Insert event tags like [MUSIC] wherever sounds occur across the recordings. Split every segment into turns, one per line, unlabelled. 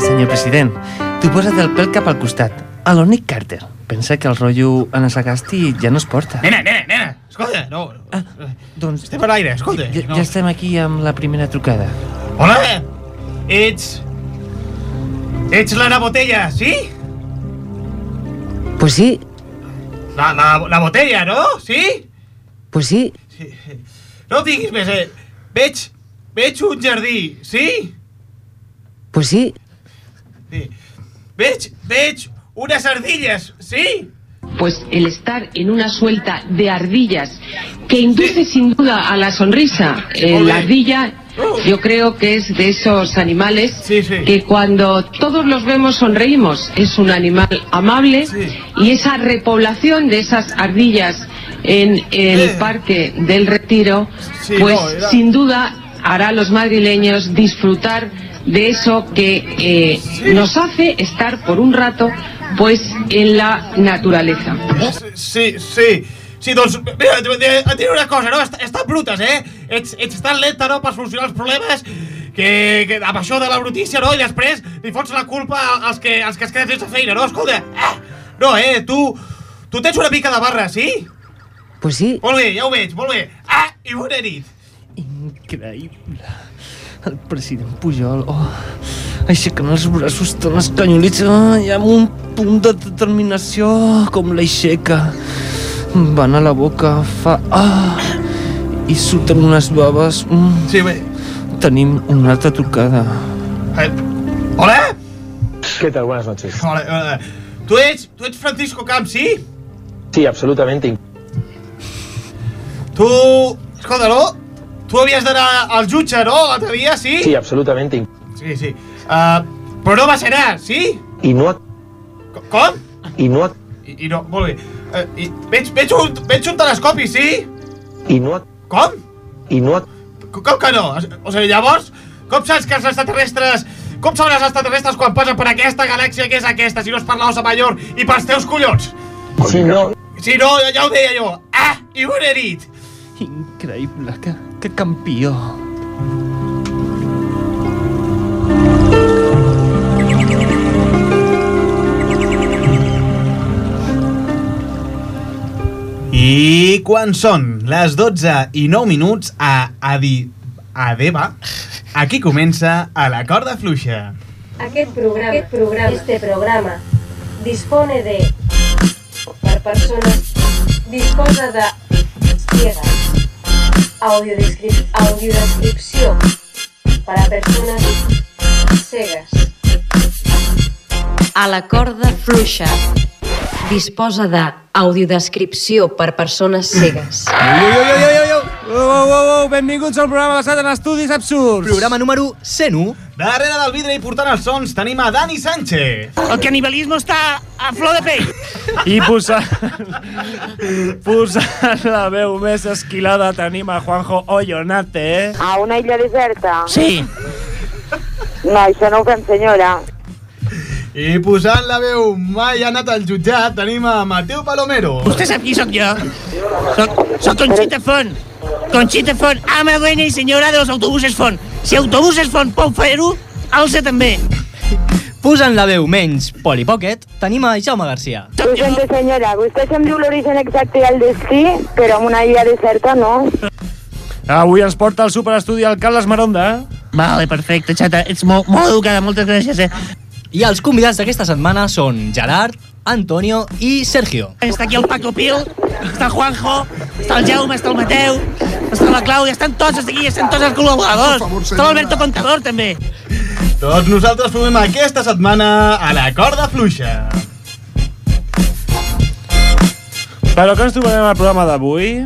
senyor president. Tu posa't el pèl cap al costat. A l'Onic Carter. Pensa que el rotllo Anna Sagasti ja no es porta.
Nena, nena, nena! Escolta, no...
Ah, doncs...
Estem a l'aire, escolta.
Ja,
no.
ja estem aquí amb la primera trucada.
Hola! Ets... Ets l'Anna Botella, sí?
Pues sí,
La, la, la Botella, no? Sí?
pues sí.
No diguis més, eh? Veig... Veig un jardí, sí?
Pues sí,
sí. Veig... Veig unes ardilles, sí?
Pues el estar en una suelta de ardillas que induce sin duda a la sonrisa. Eh,
Ole.
la ardilla yo creo que es de esos animales
Oh. Sí, sí.
que cuando todos los vemos sonreímos. Es un animal amable
Sí.
y esa repoblación de esas ardillas en el
Eh.
parque del retiro,
Sí,
pues
no, era-
sin duda hará a los madrileños disfrutar de eso que eh, nos hace estar por un rato pues en la naturaleza.
Eh? Sí, sí. Sí, doncs, mira, et, et diré una cosa, no? Est estan brutes, eh? Ets, ets tan lenta, no?, per solucionar els problemes que, que amb això de la brutícia, no?, i després li fots la culpa als que, als que es queden sense feina, no? Escolta, ah! no, eh, tu... Tu tens una mica de barra, sí?
pues sí,
Molt bé, ja ho veig, molt bé. Ah, i bona nit.
Increïble. El president Pujol, oh, aixecant els braços tan escanyolits oh, i amb un punt de determinació com l'aixeca. Van a la boca, fa... Ah, i surten unes baves. Mm,
Sí, bé.
tenim una altra trucada.
Eh, hola?
¿Qué tal? Buenas noches.
Hola, hola. Tu ets, tu ets Francisco Camps, sí?
Sí, absolutamente.
Tu... Escolta, no? Tu havies d'anar al jutge, no? L'altre dia, sí?
Sí, absolutamente.
Sí, sí. Uh, però no va ser anar, sí?
Y no, ac-
Co- Com?
y no, ac-
I, i no, molt bé. Uh, i, veig, veig, un, veig un telescopi, sí?
y no, ac-
Com?
y no, ac-
Co- Com que no? Es- O sigui, llavors, com saps que els extraterrestres... Com saben els extraterrestres quan passen per aquesta galàxia que és aquesta, si no es per l'ossa major i pels teus collons?
sí, no,
Si no, ja- ja ho deia jo. Ah, i bona nit.
Increïble, que, que campió.
I quan són les 12 i 9 minuts a Adi... Adeva, aquí comença a la corda fluixa.
Aquest programa, aquest programa, este programa, dispone de... Per persones, disposa de... Ciega. Audiodescrip, audiodescripció. Para persones cegues.
A la corda fluixa. Disposa de audiodescripció per persones cegues.
Iu, iu, iu, iu, iu, iu. Uou, uou, uou, uou, benvinguts al programa basat en estudis absurds.
Programa número 101.
Darrere del vidre i portant els sons tenim a Dani Sánchez.
El canibalismo está a flor de pell.
I posant, posant la veu més esquilada tenim a Juanjo eh? Ollonate.
A una isla deserta. Sí.
No, això no ho fem, senyora.
I posant la veu mai anat al jutjat tenim a Mateu Palomero.
Vostè sap qui sóc jo? Soc, soc Conchita Font. Conchita Ah, Font, ama buena i senyora dels autobuses Font. Si autobuses Font pot fer-ho, alça també.
Posant la veu menys Poli Pocket, tenim a Jaume Garcia.
Soc jo.
senyora, vostè se'm diu l'origen exacte i el destí, però amb una illa deserta no.
Avui ens porta al superestudi el Carles Maronda. eh?
Vale, perfecte, xata. Ets molt, molt educada, moltes gràcies, eh?
I els convidats d'aquesta setmana són Gerard, Antonio i Sergio.
Està aquí el Paco Pil, està el Juanjo, està el Jaume, està el Mateu, està la Clàudia, estan tots aquí, estan tots els col·laboradors. Està l'Alberto Contador, també.
Doncs nosaltres formem aquesta setmana a la corda fluixa.
Però què ens trobarem al programa d'avui?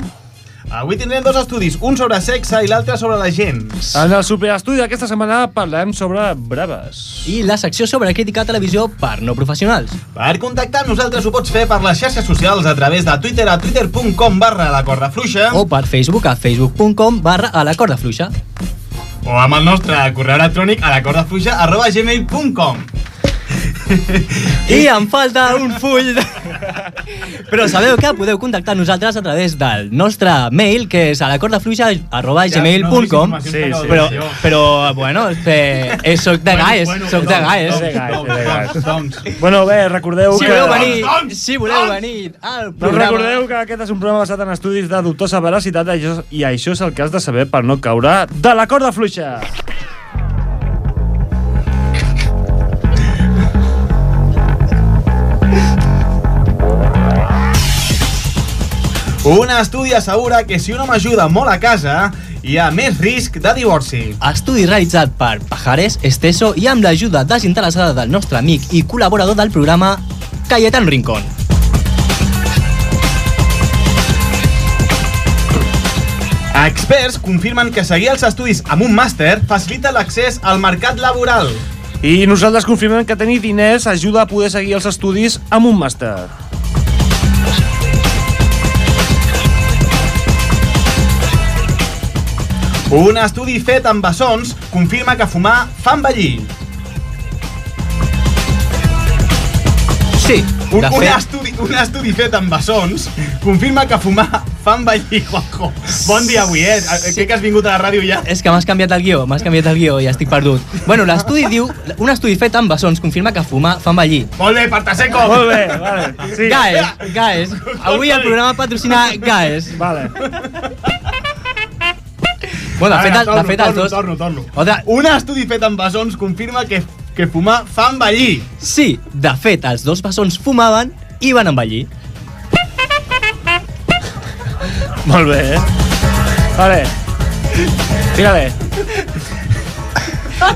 Avui tindrem dos estudis, un sobre sexe i l'altre sobre la gent.
En el superestudi d'aquesta setmana parlem sobre braves.
I la secció sobre crítica a televisió per no professionals.
Per contactar amb nosaltres ho pots fer per les xarxes socials a través de Twitter a twitter.com barra la corda fluixa
O per Facebook a facebook.com barra a la corda fluixa.
o amb el nostre correu electrònic a la corda fluixa arroba gmail.com
I em falta un full. De... Però sabeu que podeu contactar nosaltres a través del nostre mail, que és a la cordafluixa arroba gmail.com.
Sí, sí, sí.
però, però, bueno, eh, eh, soc de gaes, soc de gaes.
Doncs, Bueno, bé, recordeu
Si
que...
voleu venir, si voleu venir al
Doncs
programa...
recordeu que aquest és un programa basat en estudis de dubtosa veracitat i això- i això és el que has de saber per no caure de la corda fluixa.
Un estudi assegura que si un home ajuda molt a casa, hi ha més risc de divorci.
Estudi realitzat per Pajares, Esteso i amb l'ajuda desinteressada del nostre amic i col·laborador del programa, Cayetan Rincón.
Experts confirmen que seguir els estudis amb un màster facilita l'accés al mercat laboral.
I nosaltres confirmem que tenir diners ajuda a poder seguir els estudis amb un màster.
Un estudi fet amb bessons confirma que fumar fa envellir.
Sí,
Un,
de
un,
fet-
estudi, un estudi fet amb bessons confirma que fumar fa envellir, Juanjo. Bon dia avui, eh? Sí. Crec que has vingut a la ràdio ja.
És que m'has canviat el guió, m'has canviat el guió i estic perdut. Bueno, l'estudi diu... Un estudi fet amb bessons confirma que fumar fa envellir.
Molt bé, Partaseco!
Molt bé, vale. Sí.
Gaes, Gaes. Avui el programa patrocina Gaes.
Vale.
Bueno, de fet, el-
Ara,
de fet els dos...
Torno, torno, torno.
Otra-
Un estudi fet amb bessons confirma que, que fumar fa envellir.
Sí, de fet, els dos bessons fumaven i van envellir.
Molt bé, eh? Vale. Mira-le.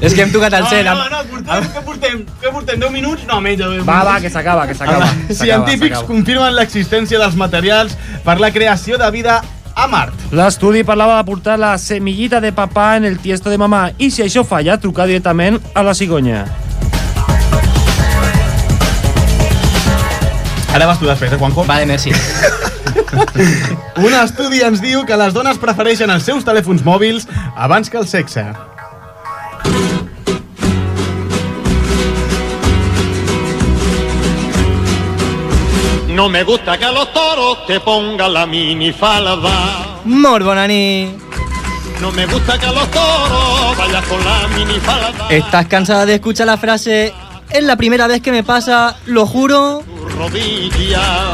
És que hem tocat el cel.
No,
amb-
no, no, portem, què portem? Què portem? 10 minuts? No, menys de 10
Va, va,
minuts.
que s'acaba, que s'acaba. s'acaba,
Científics
s'acaba.
confirmen l'existència dels materials per la creació de vida a Mart.
L'estudi parlava de portar la semillita de papà en el tiesto de mamà i si això falla, trucar directament a la cigonya.
Ara vas tu després, eh, Juanjo?
Vale, merci.
[LAUGHS] Un estudi ens diu que les dones prefereixen els seus telèfons mòbils abans que el sexe.
No me gusta que a los toros te ponga la minifalda.
Molt bona nit.
No me gusta que a los toros vayas con la minifalda.
¿Estás cansada de escuchar la frase es la primera vez que me pasa, lo juro?
Rodilla.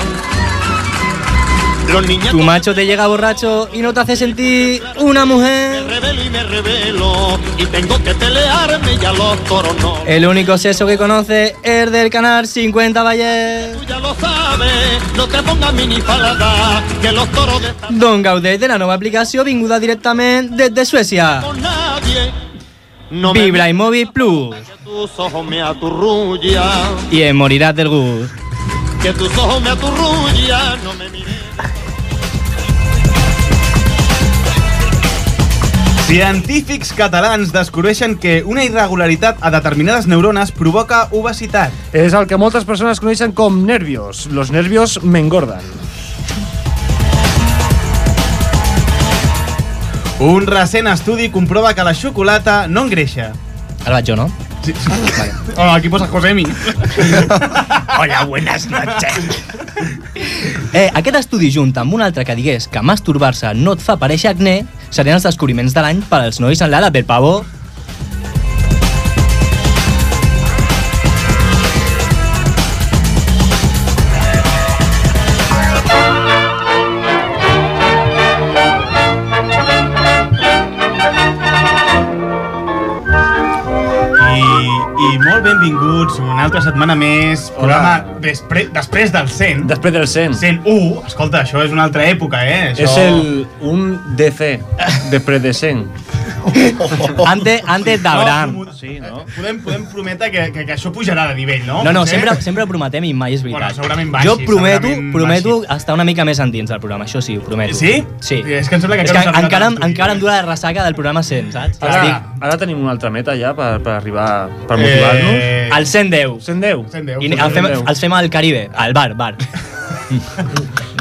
Los niñatos
Tu macho te llega borracho y no te hace sentir una mujer.
me revelo y me revelo. Y tengo que pelearme y a los toros no.
El único sexo que conoce es del canal 50 Valle.
Tú ya lo sabes, no te pongas minifalda. Que los toros de esta
Don Gaudet de la nova aplicació vinguda directament des de Suècia.
con nadie. me-
Vibra i Movi Plus.
Tus ojos me aturrullan.
I en moriràs del
[LAUGHS]
gust.
Que tus ojos me aturrullan. No me mires.
Científics catalans descobreixen que una irregularitat a determinades neurones provoca obesitat.
És el que moltes persones coneixen com nervios. Los nervios me engordan.
Un recent estudi comprova que la xocolata no engreixa.
Ara vaig jo, no?
Sí. Hola, aquí posa Josemi.
[LAUGHS] Hola, buenas noches. [LAUGHS] Eh, aquest estudi junt amb un altre que digués que masturbar-se no et fa aparèixer acné serien els descobriments de l'any per als nois en l'ala del pavó.
I, i molt benvinguts una altra setmana més. Programa
Hola.
despre, després del 100.
Després del 100.
101. Escolta, això és una altra època, eh? Això...
És el un
[LAUGHS]
DC, després de 100.
Antes,
Eh,
antes d'Abraham.
No, sí, no? Podem, podem prometre que, que, que això pujarà de nivell, no?
No, no,
Potser?
sempre, sempre ho prometem i mai és veritat.
Eh? Bueno, segurament baixi,
jo prometo,
segurament
prometo
baixi.
estar una mica més endins del programa, això sí, ho prometo.
Sí?
Sí.
És que em sembla que
és
encara
que
no s'ha arribat
encara,
a l'estudi.
encara em dura la ressaca del programa 100, saps?
Ara,
Estic
ara tenim una altra meta ja per, per arribar, per motivar-nos.
Eh,
[LAUGHS]
al 110.
110.
110.
I
potser
el fem,
el deu.
els fem al Caribe, al bar, bar.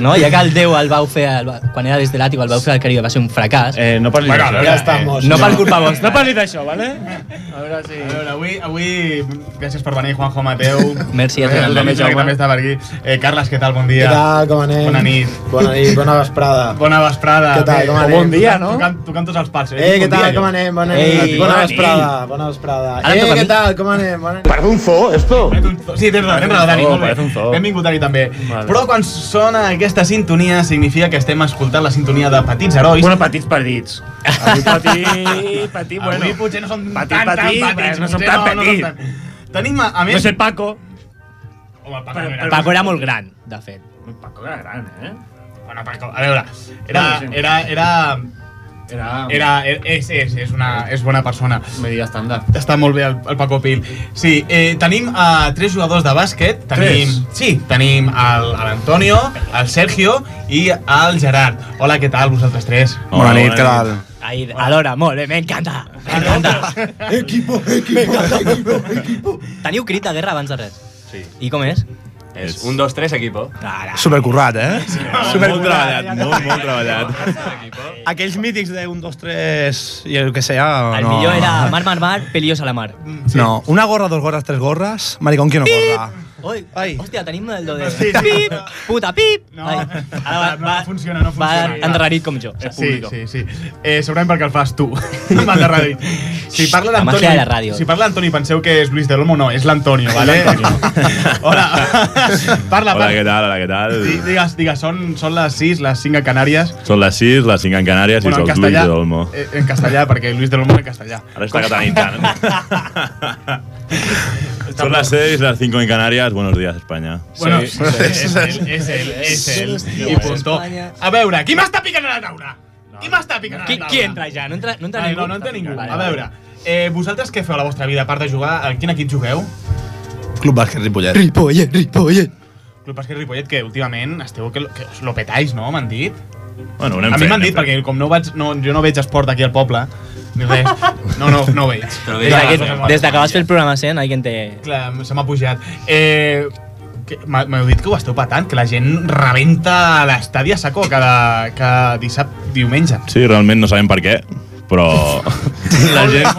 No? Ja que el Déu el vau fer, el, va- quan era des de l'àtic, el vau fer al Caribe, va ser un fracàs. Eh, no
parlis Bueno, d'això. a veure,
ja
eh,
estamos. No, per culpa vostra.
No parlis d'això, vale?
A veure, sí. A veure, avui, avui... Gràcies per venir, Juanjo Mateu.
Merci a tu,
Gràcies a
també,
la
Jaume.
que també està per aquí. Eh, Carles, què tal? Bon
Què
dia.
tal, com anem?
Bona nit.
Bona nit, bona vesprada.
Bona vesprada.
Què tal, com
Bé,
anem?
tocant- Tocant, tocant tots els pals.
Eh, què tal, com anem? Bona nit, bona vesprada, bona vesprada.
Ara em
Eh,
toca a
què
mi.
tal, com anem? Bona nit.
Parece un zoo, esto. Sí, tens raó, tens raó, Dani.
zoo,
molt bé.
parece un zoo.
Benvingut, Dani, també. Però quan sona aquesta sintonia, significa que estem escoltant la sintonia de Petits Herois. Bueno,
petits perdits.
Avui
petit, petit, bueno.
Avui potser no són
Petit,
tan,
petit,
tan
eh,
petits.
no som
potser
tan
són
petits.
tan- Tenim, a, a més...
No és el Paco.
Home, el Paco,
Però-
no
però- Paco era molt
gran, de fet.
El Paco era gran, eh?
Bueno, Paco, a veure, era... Era... era era, era, és, és, és, una, és bona persona. Media estàndard. Està molt bé el, el Paco Pil. Sí, eh, tenim a tres jugadors de bàsquet. Tenim,
Tres?
Sí, tenim el, a l'Antonio, el Sergio i el Gerard. Hola, què tal vosaltres tres?
Hola, Bona nit, bona què tal? Ahí, alhora, molt bé, m'encanta. M'encanta.
Equipo,
equipo, equipo, equipo. Teniu crit de guerra abans de res. Sí. I com és? Ah,
És un, dos, tres, equipo.
Ara.
Supercurrat, eh? molt
Supercurrat.
treballat, molt, molt treballat.
Aquells mítings d'un, dos,
Tres, i el que sea,
El
no.
millor era mar, mar, mar, peliós a la mar.
No, una gorra, dos gorras, tres gorras, maricón que no gorra.
Oi, Ai. hòstia, tenim el
[LAUGHS]
do de... Sí, sí. Pip, puta, pip! No, Ai, ara va,
no, no funciona, no funciona.
va endarrerit com jo. És
Sí,
público.
sí, sí. Eh, segurament perquè el fas tu, [LAUGHS] amb el de ràdio. Si parla
La màgia de la
d'Antoni,
ràdio.
si parla d'Antoni, penseu que és Luis de Lomo, no, és l'Antonio,
[LAUGHS]
vale? Hola.
[LAUGHS]
parla,
Hola,
parla.
què tal? Hola, què tal?
Di- Digues, digues, són, són les 6, les 5 a Canàries.
Són les 6, les 5 en Canàries
Bueno, en
i soc Luis
castellà,
de Olmo.
eh, en castellà, perquè Luis de Lomo en castellà.
Ara està catalanitzant. Son las 6, las 5 en Canarias. Buenos días, España.
[LAUGHS] Bueno, sí, és ell, és ell, és ell. I punto. A veure, qui m'està picant a la taula? Qui m'està picant a la
Qui,
taula?
qui entra ja? No entra, no entra
Ai,
ningú.
No, no entra ningú.
Vale,
A
vale.
veure, eh, vosaltres què feu a la vostra vida, a part de jugar? A quin equip jugueu?
Club Bàsquet Ripollet.
Ripollet, Ripollet.
Club Bàsquet Ripollet, que últimament esteu que, que us lo petais, no? M'han dit?
Bueno,
a mi m'han dit, perquè com no vaig, no, jo no veig esport aquí al poble, ni [LAUGHS] res. No, no, no ho veig.
Des, d'aquest- des de que vas fer el programa 100, alguien té...
Clar, se m'ha pujat. Eh, que- m'ha- M'heu dit que ho esteu patant, que la gent rebenta a l'estadi a saco cada, cada dissabte, diumenge.
Sí, realment no sabem per què, però...
[LAUGHS]
la gent...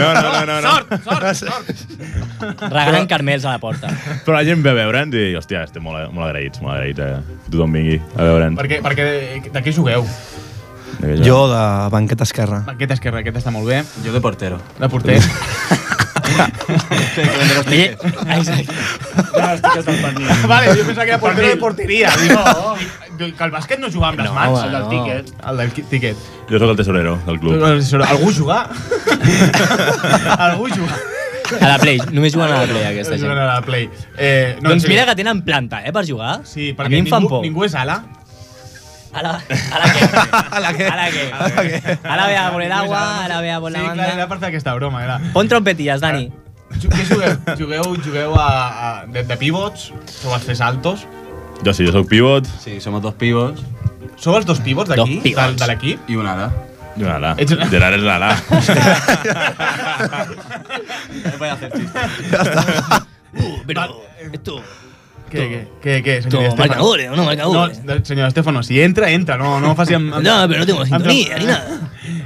No, no, no, no. no. Sort, sort, sort.
Regalen carmels a la porta.
Però la gent ve a veure'ns i, hòstia, estem molt, molt agraïts, molt agraïts eh, que tothom vingui a veure'ns.
Perquè, perquè eh, de què jugueu?
Jo, de banqueta esquerra.
Aquest esquerra, aquest està molt bé.
Jo de portero.
De porter.
Oye, exacte.
Ja estic estant pendent.
vale, jo pensava que era portero de porteria. Dic, no, dic, que el bàsquet no jugava amb les
No,
mans.
home, El del no. tíquet.
El del qui- tíquet.
Jo sóc el tesorero del club.
Algú jugar? [LAUGHS] Algú jugar?
A la Play, només juguen a la Play, aquesta
No
gent.
juguen a la Play. Eh, no,
doncs
sí.
mira que tenen planta, eh, per jugar.
Sí,
a
perquè
mi em fan
ningú-
[LAUGHS] por.
ningú és ala.
Ala, ala
[LAUGHS]
què? ala què? Ala què? Ala ve a por el agua, ala ve a por la
Sí, clar,
banda.
era per fer aquesta broma, era.
Pon trompetillas, Dani.
Ju- Què jugueu? Jugueu, jugueu a, a, de, de pivots? Sou els tres altos?
Jo sí, jo sóc pivot.
Sí, som dos pivots.
Sou els dos pivots d'aquí? De, de l'equip?
I una ala.
I una ala. Gerard és l'ala.
Eh, Voy a hacer chiste.
Uh, pero esto...
Què, què, què, què,
Toma,
senyor Estefano?
marcadores, no, marcadores.
No, de- senyor Estefano, si entra, entra, no, no faci amb...
[LAUGHS]
amb
No, però no tengo
amb-
sintonia ni nada.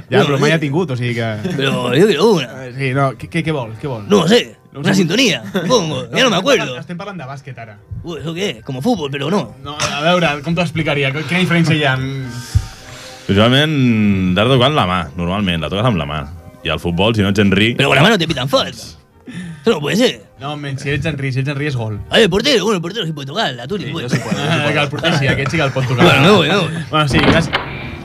Ja,
No,
però
sí.
mai ha tingut, o sigui que...
Però jo quiero una.
Sí, no, què, què, què vols, què vols?
No sé, una sintonía,
[LAUGHS]
supongo. Ya no me acuerdo.
Estem parlant de bàsquet, ara.
Uy, ¿Eso qué? Como fútbol, pero no.
No, a veure, com t'ho explicaria? Qu- Quina diferència hi ha? Mm,
Usualment, t'has de tocar amb la mà, normalment. La toques amb la mà. I al futbol, si no ets Henry...
Pero con la mano te pitan falta. Eso no puede ser.
No, men, si ets Enri, si ets Enri és gol.
A ver, el portero, bueno, el portero sí puede tocar, la tuli. puede tocar. [LAUGHS]
Ah, que el porter sí, aquest sí que el pot tocar.
Bueno, me voy, me voy.
Bueno, sí, gràcies.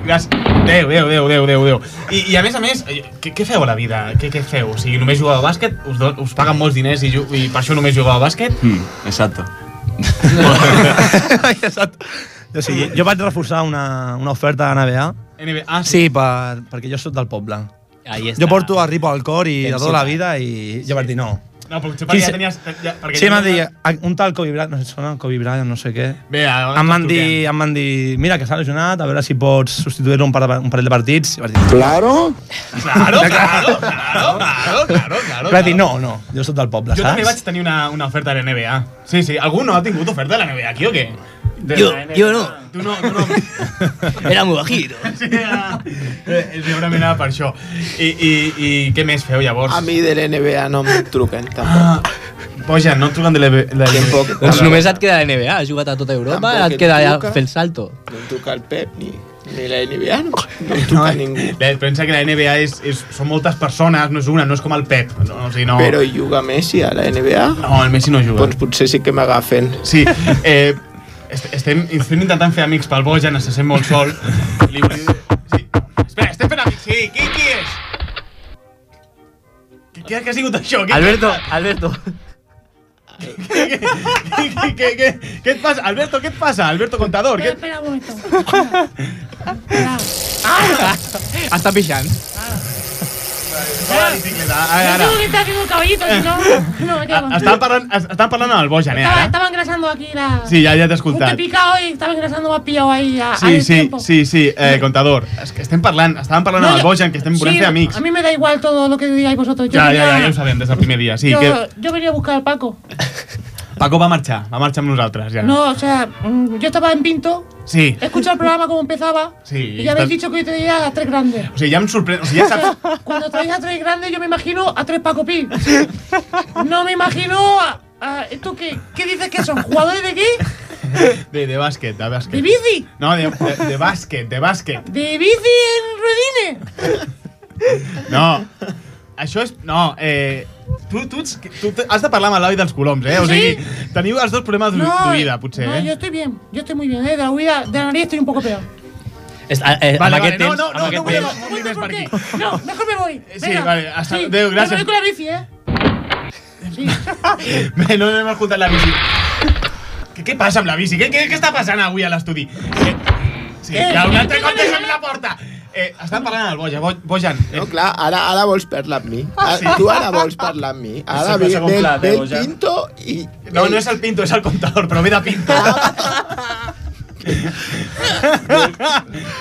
Gràcies. Déu, Déu, Déu, Déu, Déu, Déu. I, I a més a més, eh, què, què feu a la vida? Què, què feu? O sigui, només jugueu a bàsquet? Us, do, us paguen molts diners i, ju- i per això només jugueu a bàsquet?
Mm, exacto. exacto. Jo, sí, jo vaig reforçar una, una oferta de NBA.
NBA, ah,
sí. sí per, perquè jo sóc del poble.
Ahí
Jo porto a Ripo al cor i de
Encima.
tota la vida i jo vaig dir no.
No, potser perquè
Sí,
ja tenies... Ja, perquè
Sí,
ja
m'han
tenies-
dit, "Ah, un tal Kobe Bryant, no sé, sona Kobe Bryant, no sé què.
Bé, ara
Em van
ens
dir, em van dir, mira, que s'ha lesionat, a veure si pots substituir-lo un, par, un parell de partits. I vaig dir,
Claro.
Claro, claro, claro, claro, claro, claro.
Vaig dir, no, no, jo soc del poble,
Jo també
saps?
vaig tenir una, una oferta de la NBA. Sí, sí. Algú no ha tingut oferta de la NBA aquí o què? De
Jo-
la NBA.
jo no.
Tu no, tu no.
Era muy bajito.
[LAUGHS] Sí, era, eh, segurament era per això. I, i, I què més feu llavors? Ah,
A mi de l'NBA no em truquen, tampoc.
Boja, no et truquen de l'NBA.
Tampoc.
Doncs només et queda la NBA, has jugat a tota Europa,
Tampoc
et
et
queda
truca.
ja fer el salto.
No em truca el Pep ni, ni la NBA, no, no em truca ningú.
La, eh? pensa que la NBA és, és, són moltes persones, no és una, no és com el Pep. No, o sigui, no.
Però juga Messi a la NBA?
No, el Messi no juga.
Doncs potser sí que m'agafen.
Sí, [LAUGHS] eh, este, est estem, estem intentant fer amics pel Bojan, se sent molt sol. Li volia... Sí. Espera, estem fent amics, sí, qui, qui és? Què, què, què ha sigut això? Què,
Alberto, Alberto.
Què, què, què, què, què, què et passa? Alberto, què et passa? Alberto Contador, què...
Espera un momento. Ah,
Està pixant.
Ah, bicicleta, ara,
Yo
ara.
tengo que estar haciendo un caballito, si no, no me
[LAUGHS]
quedo.
Estava parlant, es- estava parlant amb el Bojan, eh,
Estaba,
ara?
estaba engrasando aquí la...
Sí, ja, ja t'he
Un que
escoltat.
picado y estaba engrasando, me ha pillado ahí a,
Sí, sí, sí, sí, eh, contador. És que estem parlant, estàvem parlant
No,
amb el
jo-
Bojan, que estem volent
sí,
fer amics.
A mí me da igual todo lo que digáis vosotros. Yo
Ja, ja,
venía-
ja, ja ho sabem des del primer dia. Sí,
yo,
que
yo venía a buscar al Paco.
Paco va marxar, va marxar amb nosaltres, ja.
No, o sea, mm, yo estaba en Pinto,
Sí,
he escuchado el programa como empezaba
[LAUGHS] sí.
y ya habéis
estàs-
dicho que hoy traía a tres grandes.
O sigui, ja em sorprèn... O sigui, ja saps...
[LAUGHS]
[LAUGHS]
Cuando traéis a tres grandes, yo me imagino a tres Paco Pi. No me imagino a. a- ¿Esto qué, qué dices que son? ¿Jugadores de
[LAUGHS]
qué?
De, de bàsquet, de bàsquet.
¿De bici?
No, de, de, de bàsquet, de bàsquet.
¿De bici en ruedines?
No. Això és... No, eh... Tu, tu, ets, tu te- has de parlar amb l'Avi dels coloms, eh? O
Sí.
sigui, teniu els dos problemes no, d'oïda, potser,
no, yo
eh?
estoy bien, yo estoy muy bien, eh, de la huida, de la nariz estoy un poco peor.
Vale,
vale,
aquest
no,
temps,
no,
eh, amb
no,
aquest
no vull
temps.
anar- vull més per aquí.
No,
[LAUGHS]
mejor me voy.
Sí,
Venga.
vale, hasta- adéu, gràcies.
Me voy con la bici, eh.
Bé, [LAUGHS] no anem escoltant la bici. Què, què passa amb la bici? Què, què, què està passant avui a l'estudi? Eh, Sí,
Eh,
eh, ja un
eh,
altre
eh,
cop
eh,
deixem la porta. Eh, estan parlant al Boja, Bo- Bojan. Eh,
No, clar, ara, ara vols parlar amb mi.
Ah,
Ara,
sí.
Tu ara vols parlar amb mi. Ara
Sempre
ve,
segon
ve,
plat, eh,
ve el
Bojan?
Pinto i...
No, no és el Pinto, és el contador, però ve de Pinto.
[LAUGHS]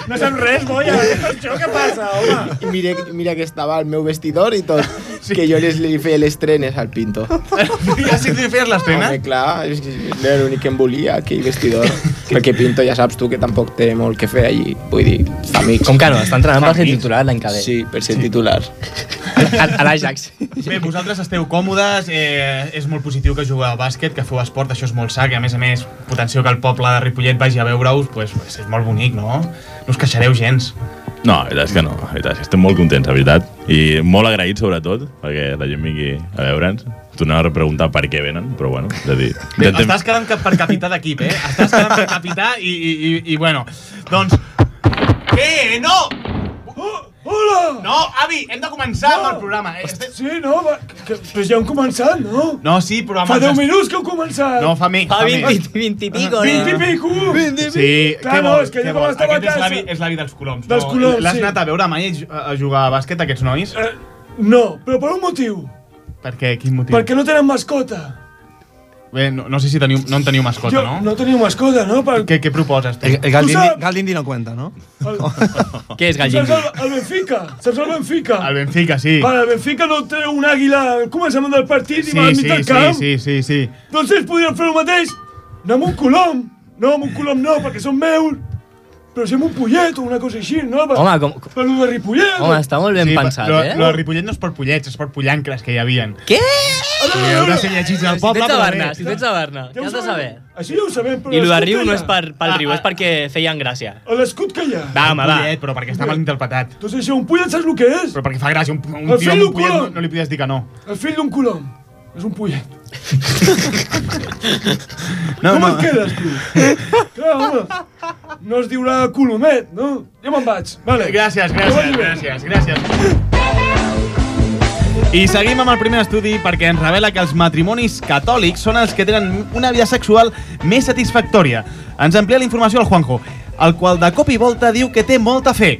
no sabem res, boia. Això què passa, home?
I mira, mira que estava al meu vestidor i tot, que jo les, li feia les trenes al Pinto.
[LAUGHS] Ja sí que li feies les trenes?
Home, clar, és, que era l'únic que em volia, aquell vestidor. Perquè Pinto ja saps tu que tampoc té molt que fer allí. Vull dir, fa amics.
Com que no? Està entrenant per ser titular l'any que ve.
Sí, per ser titular.
A, a l'Ajax.
Bé, vosaltres esteu còmodes, eh, és molt positiu que jugueu a bàsquet, que feu esport, això és molt sa, que a més a més potenció que el poble de Ripollet vagi a veure-us, pues, pues, és molt bonic, no? No us queixareu gens.
No, la veritat és que no. La veritat és que estem molt contents, la veritat. I molt agraïts, sobretot, perquè la gent vingui a veure'ns. Tornava a preguntar per què venen, però bueno, és a dir...
Bé,
intentem-
estàs quedant cap per capità d'equip, eh? Estàs quedant per capità i, i, i, i bueno, doncs... Eh, no! Hola! No, avi, hem de començar amb el programa. Eh, estem-
Sí, no, va, que, que, però ja hem començat, no?
No, sí, però... amb
Fa
els
10
est-
minuts que heu començat.
No, fa més, Fa fa vint- més.
20 i
pico, no?
20 i pico.
Uh!
20 i
Sí,
Clar,
què
no,
vols?
és que
què
jo
vols?
quan estava a
Aquest és
casa...
l'avi- és l'avi dels coloms.
Dels coloms,
L'has
sí.
anat a veure mai a a jugar a bàsquet, aquests nois?
No, però per un motiu.
Per què? Quin motiu?
Perquè no tenen mascota.
Bé, no, no sé si teniu, no en teniu mascota, no?
No teniu mascota, no? Per...
Què, què proposes?
Eh,
El, el Galdindi,
Tu saps-
Galdindi no cuenta, no?
Què és
Saps el, el Benfica? Saps el Benfica?
El Benfica, sí.
Vale, el Benfica no té un àguila al començament del partit
Sí,
i va al
sí,
mig del
sí,
camp.
sí, sí, sí.
Doncs ells podrien fer el mateix, anar amb un colom. No, amb un colom no, perquè són meus. Però si amb un pollet o una cosa així, no? Per,
Home, com-
Per lo de Ripollet.
Sí, pa- lo,
eh?
Lo de Ripollet no és per pollets, és per pollancres que hi havien.
Què?
Sí, no sé llegits al poble,
Eh! Si tens a
però
Barna,
bé.
si tens a Barna, què has de saber?
Això ja ho sabem, però...
I lo de
l'escut
riu
que
no
hi ha-
és per, pel riu, és perquè
Ah,
feien gràcia.
A l'escut que hi ha.
Eh, Va, home, va.
Pollet, però perquè està mal ah. interpretat.
Doncs això, un pollet saps el que és?
Però perquè fa gràcia, un, un
El
tio
fill
amb
d'un
un pollet no,
colom.
no li podies dir que no.
El fill d'un colom. És un pollet.
No,
Com
no.
et quedes, tu?
[LAUGHS]
Clar, home. No es diurà Colomet, no? Ja me'n vaig. Vale.
Gràcies, gràcies, gràcies, gràcies. I seguim amb el primer estudi perquè ens revela que els matrimonis catòlics són els que tenen una vida sexual més satisfactòria. Ens amplia la informació el Juanjo, el qual de cop i volta diu que té molta fe,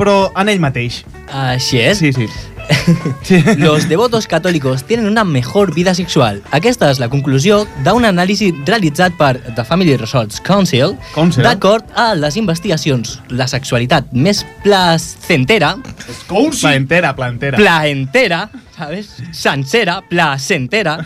però en ell mateix.
Així és.
Sí, sí.
[LAUGHS] Los devotos católicos tienen una mejor vida sexual. Aquesta és la conclusió d'un anàlisi realitzat per The Family Resorts Council,
Council.
d'acord a les investigacions. La sexualitat més placentera,
Plantera, plantera.
plaentera, ¿sabes? Sansera, placentera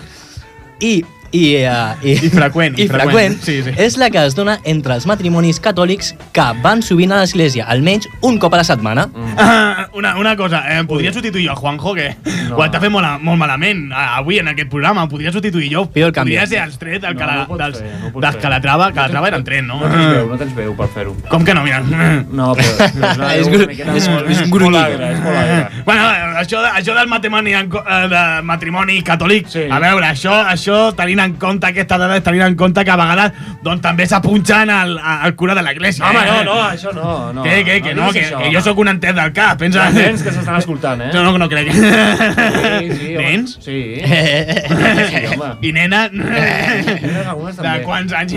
i i, eh, i, I
[LAUGHS]
freqüent, i
i freqüent
freqüent, sí, sí.
és la que es dona entre els matrimonis catòlics que van sovint a l'església, almenys un cop a la setmana. Mm.
Ah, Una, una cosa, eh, em podria substituir jo, Juanjo, que no. ho has de fer molt, molt malament ah, avui en aquest programa. Em podria substituir jo.
Pido el canvi.
Podria ser els tres del,
No,
no, cala,
no
no
pots
dels,
fer, no
fer,
pots
no dels
fer.
Calatrava. Calatrava eren tres, no?
No tens veu, no tens veu per fer-ho.
Com que no? Mira.
No,
[LAUGHS]
però... però
És
una
gru-
miqueta
és-
molt- eh?
és
Molt
grunyidor.
agre, és molt agre.
Bueno, això, de- això del matrimoni, en co- eh, de matrimoni catòlic, sí. a veure, això, això tenint en compte aquestes dades, tenint en compte que a vegades doncs, també s'apunxen al, al cura de l'església.
Home,
eh?
no, no, això no. no
Què, què, que no,
diguis
que,
això.
que jo sóc un entès del cap,
Hi
pensa...
ha nens que s'estan escoltant, eh?
Jo no, no crec.
[LAUGHS] Sí, sí, home.
Nens?
Sí. Sí, home.
I nena?
algunes
De
també.
quants anys?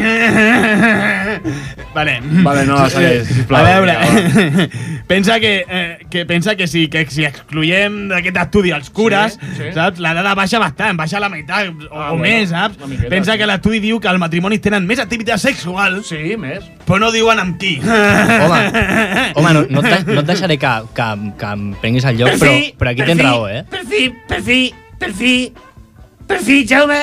vale.
Vale, no les talles, sisplau.
A veure,
Vinga,
[LAUGHS] pensa que, eh, que pensa que si, que si excloiem d'aquest estudi els cures,
Sí, sí.
saps? La dada baixa bastant, baixa a la meitat o,
Ah,
o
bueno,
més, saps?
una miqueta,
Pensa
sí.
que l'estudi diu que els matrimonis tenen més activitat sexual.
Sí, més.
Però no diuen amb qui. [LAUGHS]
Home, home no, no, et, de- no et deixaré que, que, que em prenguis el lloc, però, però aquí tens raó, eh?
Per fi, per fi, per fi, per fi, Jaume,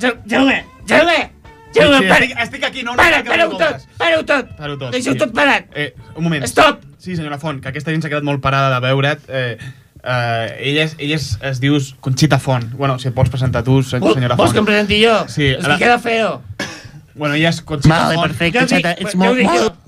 Ja- Jaume, Jaume, Jaume,
Sí, sí,
para.
estic- estic aquí, no, no,
Para,
que no
para-ho tot,
comptes.
para-ho tot.
Para-ho tot.
Deixa-ho
sí.
tot parat.
Eh, un moment.
Stop!
Sí, senyora Font, que aquesta gent s'ha quedat molt parada de veure't. Eh, eh, ella, és, ella és, es diu Conxita Font. Bueno, si et pots presentar tu, se-
Vol-
senyora Font.
Vols que em presenti jo?
Sí,
És
ara-
que queda feo.
Bueno, ella és Conxita
Vale,
Font.
perfecte,
Ja ho dic,
Xata, ets
ja
molt-
ho dic,
molt-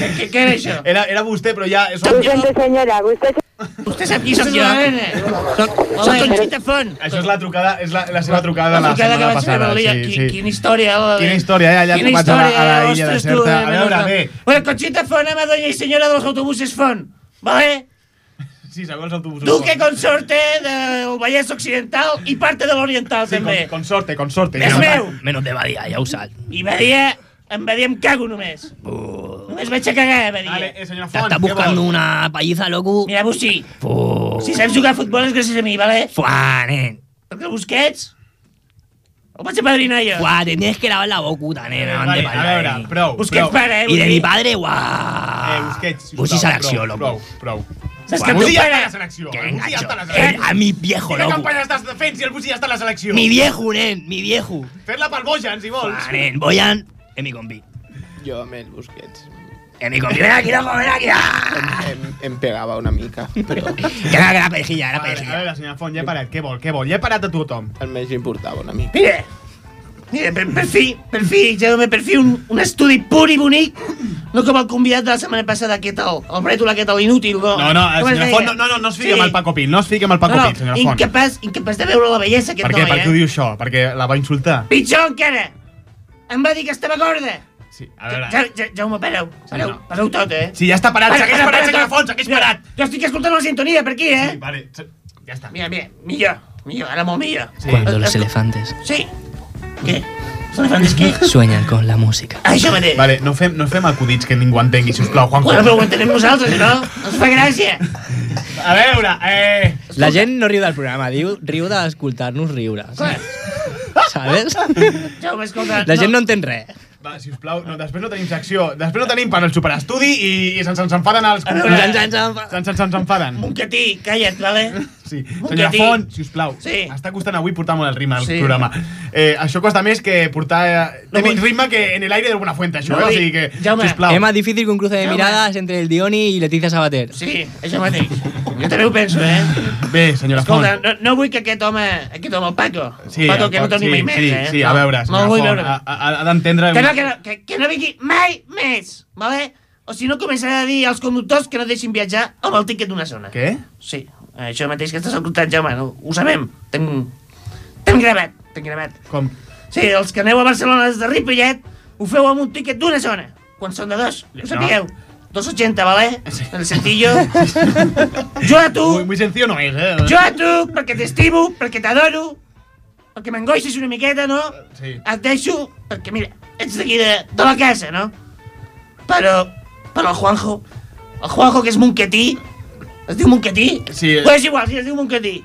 Què, què era això? Era, era vostè, però ja... És
Lo siento, señora, usted...
Vostè sap qui sóc jo?
¿ah?
Soc, soc
Hola.
Conxita Font.
Això és la trucada, és la, la seva trucada de
La
la,
trucada que
setmana
vaig fer
passada.
l'Elia.
sí,
Qui-
sí.
quina història, eh, la de-
Quina història, ja, ja
Quina
vaig a la, a la
història,
illa
ostres,
deserta.
tu, eh,
a veure,
menos
bé,
mal. Bueno, Conxita Font, ama doña y senyora dels autobusos Font, vale?
sí, segons autobusos.
Tu que consorte del Vallès Occidental i parte de l'Oriental,
Sí, con,
també.
consorte, consorte.
És meu.
Menos de Badia, ja ho saps.
I va dir, eh, em va dir, em cago només. Només vaig a cagar, va dir. Vale,
senyora
Font, T'està què buscant vols?
una palliza, loco. Mira, Bussi, si saps jugar a futbol és gràcies a mi, vale?
Fuà, nen.
Perquè el Busquets el vaig apadrinar jo.
Guau, te tienes que lavar la bocuta, nena. van
Eh, vale,
de
a veure,
ahí.
prou,
Busquets
prou. pare, eh,
I de
Busquets.
mi padre, guau.
Eh, Busquets, sisplau,
Bussi selecció,
prou,
loco.
Prou, prou.
Saps
Guau,
que tu
Bussi ja
pares-
està a la selecció.
Que
Bussi ja està a la
Eh,
selecció.
a mi viejo,
Quina
loco.
campanya estàs fent si el Busi ja està a la selecció?
Mi viejo, nen, mi viejo.
Fer-la pel Bojan, si vols.
Va, nen, Bojan, en mi compi.
Jo amb el Busquets.
En mi compi. Ven aquí, loco, ven aquí. Ah.
Em, em pegava una mica, però...
[LAUGHS] Que era, que era pejilla, era
A
pejilla.
veure, senyora Font, ja he parat. Què vol, què vol? Ja he parat a tothom.
El més importava una mica.
Mira, mira, per, per fi, per fi, Jaume, per fi un, un estudi pur i bonic, no com el convidat de la setmana passada, aquest, el, el brètol aquest, l'inútil. No,
No, no, eh,
Com es
senyora
deia?
Font, no, no, no, no es fiqui amb el Paco Pil, no es fiqui amb el
No,
Paco
no,
Pil, senyora Font.
incapaç, incapaç de veure la bellesa, aquest
Per què?
noi,
Per què
eh?
ho diu això? Perquè la va insultar?
Pitjor encara! Em va dir que estava gorda!
Sí, a veure...
Ja, ja, Jaume, pareu, pareu, pareu tot, eh?
Sí, ja està parat,
Para,
segueix
para,
parat,
para,
senyor
para.
Fons, segueix
Mira,
parat.
Jo estic escoltant la sintonia per aquí, eh? Sí,
vale, ja està.
Mira, mira, millor, millor, ara molt millor.
Cuando los elefantes
Sí. ¿Qué? ¿Son elefantes qué?
sueñan con la música.
Això mateix.
Vale, no fem, no fem acudits que ningú entengui, sisplau, Juanjo.
Bueno, però ho entenem nosaltres, no? Ens fa gràcia.
A veure, eh...
La gent no riu del programa, diu, riu d'escoltar-nos riure. Sabes?
Jaume, escolta...
La gent no entén res.
Va, sisplau, no, després no tenim secció. Després no tenim per al superestudi i, i se'ns se'ns enfaden els...
A veure.
Se'ns se'ns- se'ns enfaden.
Montcatí, calla't, vale?
Sí. Senyora
Montcatí.
Font, sisplau,
Sí.
està costant avui portar molt el ritme al
Sí.
programa. Eh, això costa més que portar... eh, Té menys ritme que en el aire d'alguna fuente, això,
No,
eh?
i-
O sigui que,
Jaume.
sisplau.
Es más difícil que un cruce de
Jaume.
miradas entre el Dioni y Leticia Sabater.
Sí, això mateix. Jo també ho penso, eh?
Bé, senyora Font.
Escolta, no, no vull que aquest home, aquest home, el Paco,
Sí,
el Paco, que
el-
no torni
sí,
mai més,
sí,
eh?
sí, a veure,
no,
senyora
no vull
Font,
veure.
ha- ha- ha d'entendre-
Que no, que no, que, que no vingui mai més, vale? O si no, començarà a dir als conductors que no deixin viatjar amb el tiquet d'una zona.
Què?
Sí, eh, això mateix que estàs escoltant, Jaume, no, ho sabem. T'hem t'hem gravat, t'hem gravat.
Com?
Sí, els que aneu a Barcelona des de Ripollet ho feu amb un tiquet d'una zona, quan són de dos, ho sapigueu. 2,80, vale? El sentillo.
[LAUGHS]
jo a tu...
Muy, muy sencillo no és, eh?
Jo a tu, perquè t'estimo, perquè t'adoro, perquè m'angoixis una miqueta, no?
Sí.
Et deixo, perquè mira, ets d'aquí de, de la casa, no? Però, però el Juanjo, el Juanjo que és monquetí, Es diu Montcatí?
Sí. eh.
Però és igual, si es diu Montcatí.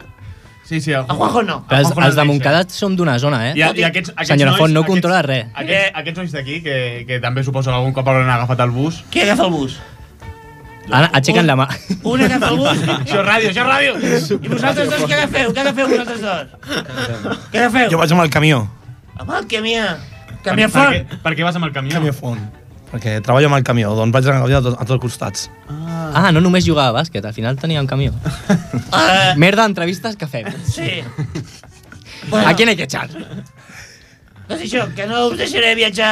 Sí, sí. El
Juanjo no.
Però els,
Ojo,
els de Montcada som d'una zona, eh?
I, i aquests, aquests
Senyora
nois,
Font no
aquests-
controla res.
Aquests, aquests nois d'aquí, que, que també suposo que algun cop hauran agafat el bus.
Qui agafa el bus?
Ara aixequen la mà.
Un agafa el bus.
[LAUGHS] Ah, Això és ràdio, això és ràdio.
I vosaltres dos què agafeu? Què agafeu vosaltres dos? Què agafeu?
Jo vaig amb el camió.
Home, que mia. Que mia fort.
Per, per què vas amb el camió?
Camió font. Perquè treballo amb el camió, doncs vaig a gaudir a, tot, a tots els costats.
Ah, no només jugava a bàsquet, al final tenia un
[LAUGHS]
camió.
Eh.
Merda, entrevistes que fem.
Sí.
A qui n'he que echar?
Doncs això, que no us deixaré viatjar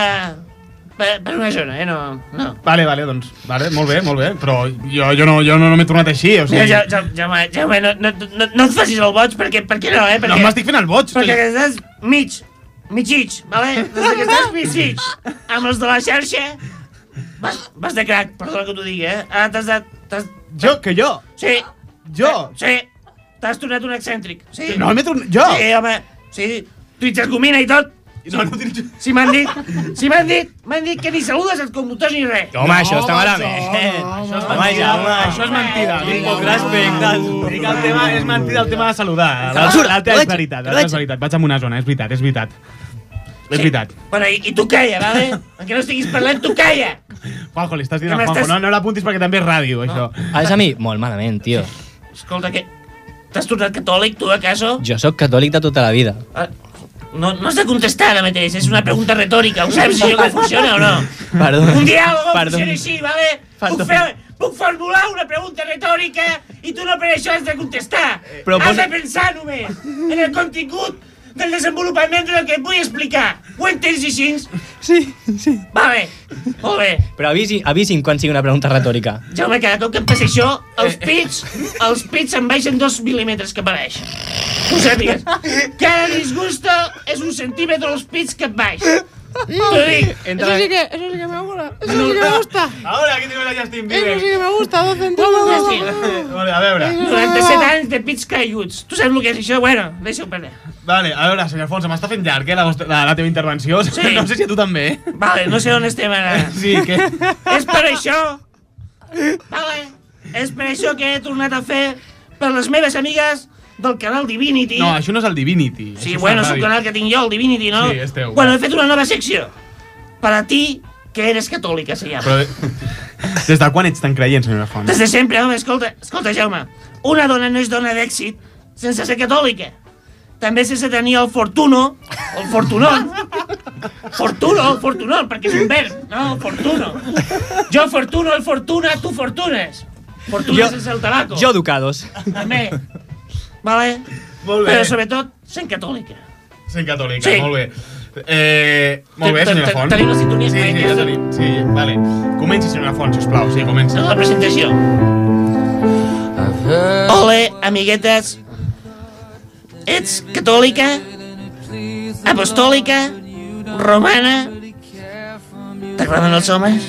per, per una zona, eh? No, no.
Vale, vale, doncs, vale, molt bé, molt bé, però jo, jo no, jo no, no m'he tornat així, o sigui...
Mira, ja, ja, ja, ja, ja, no, no, no, no et facis el boig, perquè, perquè no, eh? Perquè,
No m'estic fent el boig.
Perquè que estàs mig, mitjig, vale? Des que
[LAUGHS]
estàs mitjig amb els de la xarxa, vas, vas de crac, perdona que t'ho digui, eh? Ara t'has de... T'has...
Jo, que jo?
Sí.
Jo?
Sí. T'has tornat un excèntric. Sí.
No, m'he tornat- jo?
Sí, home, sí. Twitter gomina i tot.
No, no tinc...
Si m'han dit, si m'han dit, m'han dit que ni saludes els conductors ni res.
Home, això està malament.
Això és mentida, home. Això és mentida. Tinc poc respecte. Dic el tema, és mentida el tema de saludar.
Ah, Censura,
L'altre
corretge,
és veritat, l'altre
corretge.
és veritat. Vaig amb una zona, és veritat, és veritat. És veritat.
Bueno, i, i tu calla, vale? Encara no estiguis parlant, tu calla.
Juanjo, li estàs
Que
dient a Juanjo.
m'estàs-
No, no l'apuntis perquè també és ràdio, això.
Ara Ah, és a mi? Molt malament, tio.
Escolta, que... T'has tornat catòlic, tu, acaso?
Jo sóc catòlic de tota la vida.
No, no has de contestar ara mateix, és una pregunta retòrica. Ho saps Em si que funciona o no?
Perdó.
Un diàleg
Perdó.
funciona així, vale? Puc, fer, puc formular una pregunta retòrica i tu no per això has de contestar.
Però
has
posa-
de pensar només en el contingut del desenvolupament del que et vull explicar. Ho entens així? Sí, sí. Vale, molt bé.
Però avisi, avisi'm quan sigui una pregunta retòrica.
Ja home, cada cop que em passa això, els
Eh,
pits, els pits em baixen dos mil·límetres que apareix. Ho sàpigues. Cada disgusto és un centímetre als pits que et baix. T'ho dic.
Eso sí que, eso sí que me mola. Eso sí que me gusta.
Ahora, aquí tenemos a Justin
Eso sí que me gusta, dos centímetros.
Vale, a veure.
97 anys de pits caiguts. Tu saps el que és això? Bueno, deixa-ho per allà.
Vale, a veure, senyor Fons, m'està fent llarg, eh, la, vostra, la, la teva intervenció. [LAUGHS]
Sí.
No sé si a tu també. eh.
Vale, no sé on estem ara.
[LAUGHS] Sí, que...
És per això... Vale. És per això que he tornat a fer per les meves amigues del canal Divinity.
No, això no és el Divinity.
Sí, bueno, és un canal que tinc jo, el Divinity, no?
Sí, és teu.
Bueno, he fet una nova secció. Per a ti, que eres catòlica, se llama.
Però [LAUGHS] des de quan ets tan creient, senyora Font?
Des de sempre, home, escolta, escolta, Jaume. Una dona no és dona d'èxit sense ser catòlica. També sense tenir el fortuno, el fortunón. Fortuno, el fortunón, perquè és un verb, no? El fortuno. Jo fortuno, el fortuna, tu fortunes. Fortuna
Jo-
sense el tabaco.
Jo educados.
També. Vale?
Molt bé.
Però sobretot, sent catòlica.
Sent catòlica,
Sí.
molt bé. Eh, molt bé,
Ten-
senyora
ten-
Font.
tenim la sintonia,
Sí, sí,
eh,
ja
que-
tenim. Sí, vale. Comenci, senyora Font, sisplau. Sí, comença.
Tota La presentació. Ole, amiguetes. Ets catòlica, apostòlica, romana... T'agraden els homes?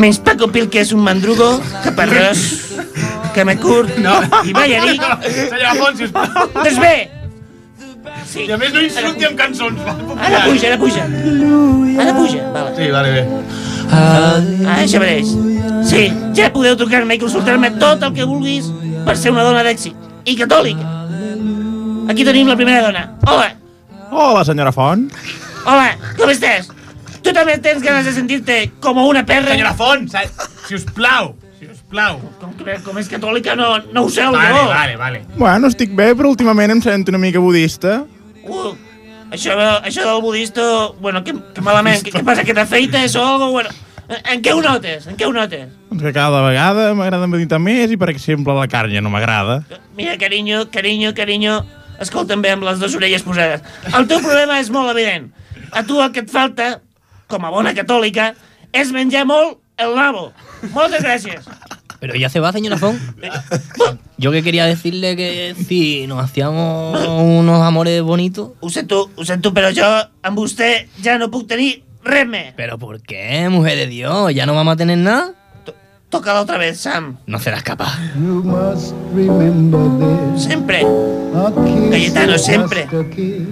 Menys Paco Pil, que és un mandrugo, que parrós, que me curt no. i ballarí.
No, senyora Font, sisplau.
Doncs bé, Sí.
I a més no insulti amb cançons. Va,
ara puja, ara puja. Ara puja, vale.
Sí, vale, bé.
Ah, això mateix. Sí, ja podeu trucar-me i consultar-me tot el que vulguis per ser una dona d'èxit i catòlica. Aquí tenim la primera dona. Hola,
Hola, senyora Font.
hola, com estàs? Tu també tens ganes de sentir-te com una perra?
Senyora Font, si us plau, si us plau.
Com, que, com és catòlica no, no ho sé, el
Vale,
no.
vale, vale.
Bueno, estic bé, però últimament em sento una mica budista.
Uh, això, això del budista, bueno, que, que malament, què, què passa, que t'afeites o algo, bueno, en, en què ho notes, en què ho notes?
Doncs que cada vegada m'agrada meditar més i, per exemple, la carn ja no m'agrada.
Mira, carinyo, carinyo, carinyo, escolta'm bé amb les dues orelles posades. El teu problema és molt evident. A tu el que et falta, com a bona catòlica, és menjar molt el nabo. Moltes gràcies.
Pero ya se va, señora Font. Yo que quería decirle que si nos hacíamos unos amores bonitos.
Ho sento, ho sento, però jo amb vostè ja no puc tenir res més.
Pero ¿por qué, mujer de Dios? ¿Ya no vamos a tener nada?
Toca-la otra vez, Sam.
No serás capaz.
Sempre. Cayetano, sempre.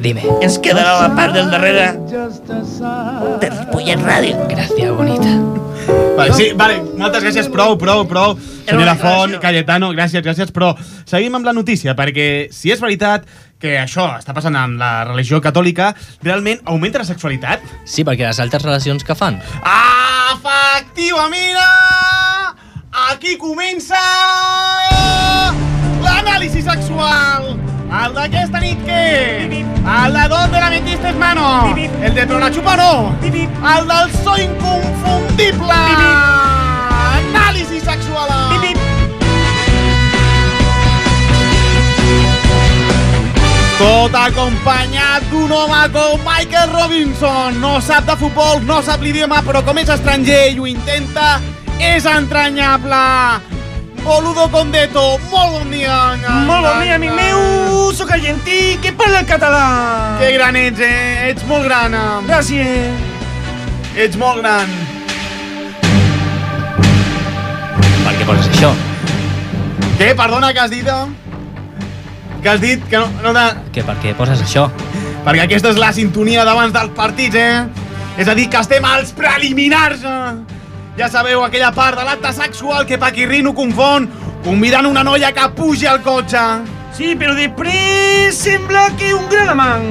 Dime.
Ens quedarà la part del darrere de Ripollet Ràdio.
Gracias, bonita.
Vale, sí, vale, moltes gràcies, prou, prou, prou. Senyora Font, Cayetano, gràcies, gràcies, però seguim amb la notícia, perquè si és veritat que això està passant amb la religió catòlica, realment augmenta la sexualitat?
Sí, perquè les altres relacions que fan.
Efectiva, mira! Aquí comença... eh, l'anàlisi sexual! El d'aquesta nit què? El de donde la metiste mano? El de però la xupa no? El del so inconfundible! Anàlisi sexual! Tot acompanyat d'un home com Michael Robinson. No sap de futbol, no sap l'idioma, però com és estranger i ho intenta, és entranyable. Boludo Condeto, molt bon dia.
Molt bon dia, amic meu. Sóc argentí que parla el català.
Que gran ets, eh? Ets molt gran. eh?
Gràcies.
Ets molt gran.
Per què poses això?
Què? Perdona, que has dit? eh? Que has dit que no... no de...
Que per què poses això?
Perquè aquesta és la sintonia d'abans dels partits, eh? És a dir, que estem als preliminars! eh? Ja sabeu, aquella part de l'acte sexual que Paquirrino confon convidant una noia que pugi al cotxe.
Sí, però després sembla que un gran
[LAUGHS]
amant.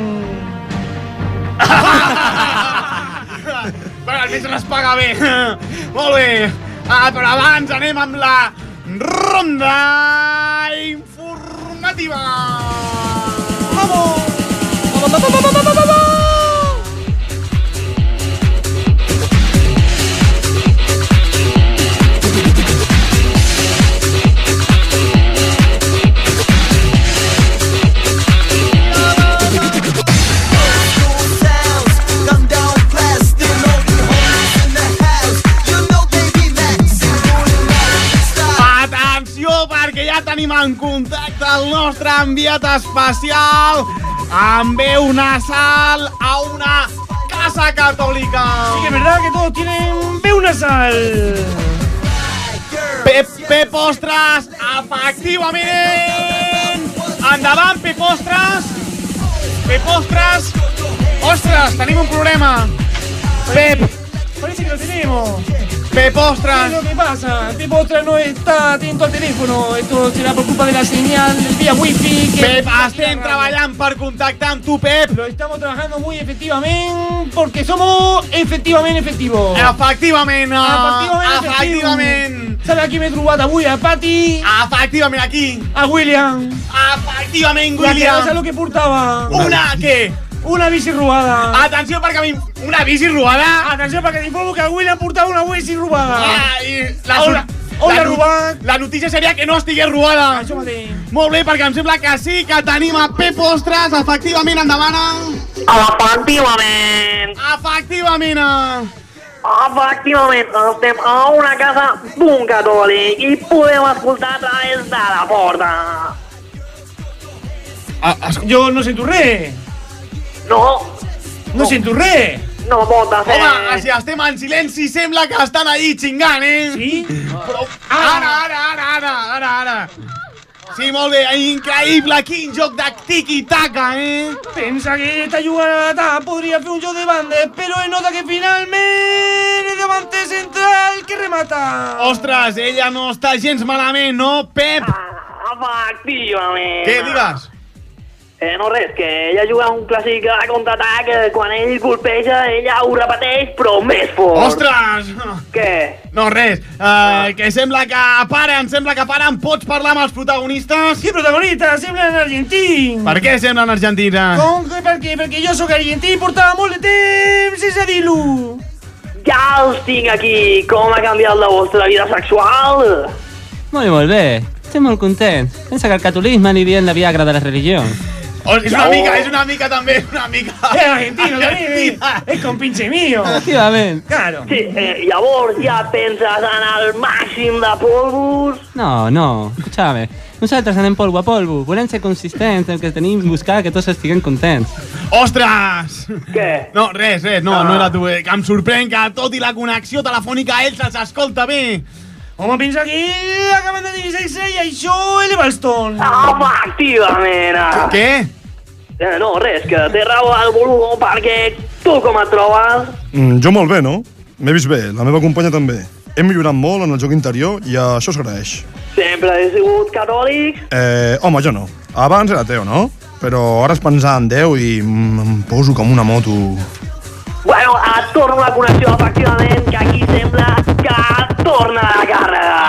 Bueno, almenys no es paga bé. [LAUGHS] Molt bé. Ah, però abans anem amb la ronda informativa. Vamos! Atenció, perquè ja tenim en contacte el nostre enviat especial amb veu nasal a una casa catòlica. Sí
que és verdad que todos tienen veu nasal.
Pep, Pep Ostres, efectivament! Endavant, Pep Ostres! Pep Ostres! Ostres, tenim un problema! Pep!
Parece que lo tenemos.
Pep Ostres!
¿Qué es lo que pasa? Pep Ostras no está atento al teléfono. Esto será por culpa de la señal vía wifi. Que
Pep, estem treballant per contactar amb tu, E Pep.
Lo estamos trabajando muy efectivamente porque somos efectivamente efectivos.
Efectivament, eh,
Efectivament,
efectivament.
Sabe a qui m'he trobat avui? A Pati.
Efectivament, aquí.
A William.
Efectivament,
La que no
William.
sap el que portava.
Una, què?
Una bici robada.
Atenció perquè m'in- una bici robada?
Atenció perquè t'informo que el William portava una bici robada.
Ah, i la,
Hola.
sor-
Hola,
la, no-
robat.
la notícia seria que no estigués robada.
Això mateix.
Molt bé, perquè em sembla que sí que tenim a Pep Ostres, efectivament, endavant.
Efectivament,
Efectivament.
efectivament, estem a una casa d'un catòlic i podem escoltar a través de la porta.
Ah,
Jo no sento res.
No,
No sento res.
no eh. pot de ser.
Home, ah, si estem en silenci, sembla que estan allí xingant, eh?
Sí?
Però ara, ara, ara, ara, ara, ara. Sí, molt bé, increïble, quin joc de tiqui-taca, eh?
Pensa que esta jugada podría hacer un show de bandes, pero es nota que finalmente el diamante central que remata.
Ostres, ella no està gens malament, no, Pep?
Ah, Efectivament.
Què, digues?
Eh, no res, que ella juga un clàssic a contraatac, eh, quan ell colpeja, ella ho repeteix, però més fort.
Ostres!
Què?
No, res. Uh, que sembla que paren, sembla que paren. Pots parlar amb els protagonistes?
Sí, protagonistes, semblen argentins.
Per què semblen argentins?
Com que per què? Perquè jo sóc argentí i portava molt de temps sense dir-ho.
Ja els tinc aquí. Com ha canviat la vostra vida sexual?
Molt i molt bé. Estic molt content. Pensa que el catolisme li diuen la viagra de la religió.
Oh, és una mica, és una mica també, una mica.
Es argentino, también. Es compinche mío.
Efectivament.
Claro.
Sí, eh, llavors ja penses en el màxim de polvos?
No, no, escúchame. Nosaltres anem polvo a polvo. Volem ser consistents en el que tenim buscar que tots estiguen contents.
Ostres!
Què?
No, res, res, no, no era tu. Eh? Que em sorprèn que, tot i la connexió telefònica, ell se'ls escolta bé.
Home, pensa que acaben de tenir sexe i això eleva els tons.
Efectivament.
Què?
Eh, no, res, que té raó el boludo perquè tu com et trobes?
Mm, jo molt bé, no? M'he vist bé, la meva companya també. hem millorat molt en el joc interior i això s'agraeix.
Sempre he sigut catòlic.
Eh, home, jo no. Abans era teu, no? Però ara és pensar en Déu i mm, em poso com una moto.
Bueno, et torno la connexió, efectivament, que aquí sembla que torna la càrrega.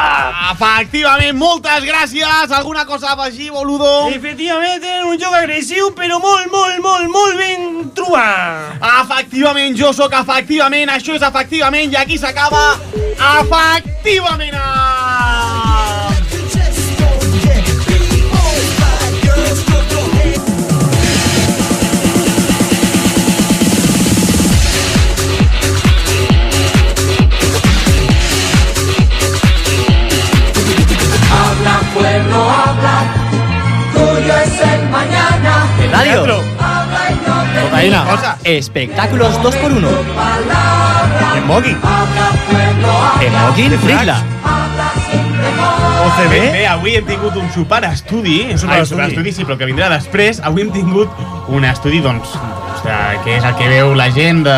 Efectivament, moltes gràcies. Alguna cosa a afegir, boludo?
Efectivament, tenen un joc agressiu, però molt, molt, molt, molt ben trobat.
Efectivament, jo sóc efectivament, això és efectivament, i aquí s'acaba efectivament.
Habla pueblo, habla. Tuyo es el mañana.
Radio.
Habla y no te
Cocaína. Espectáculos 2x1.
palabra.
Emogi. Emogi Frigla.
OCB?
Eh?
Bé, avui hem tingut un sopar estudi. Un
sopar
Ai,
estudi.
estudi, sí, però que vindrà després. Avui hem tingut un estudi, doncs, doncs de, que és el que veu la gent de,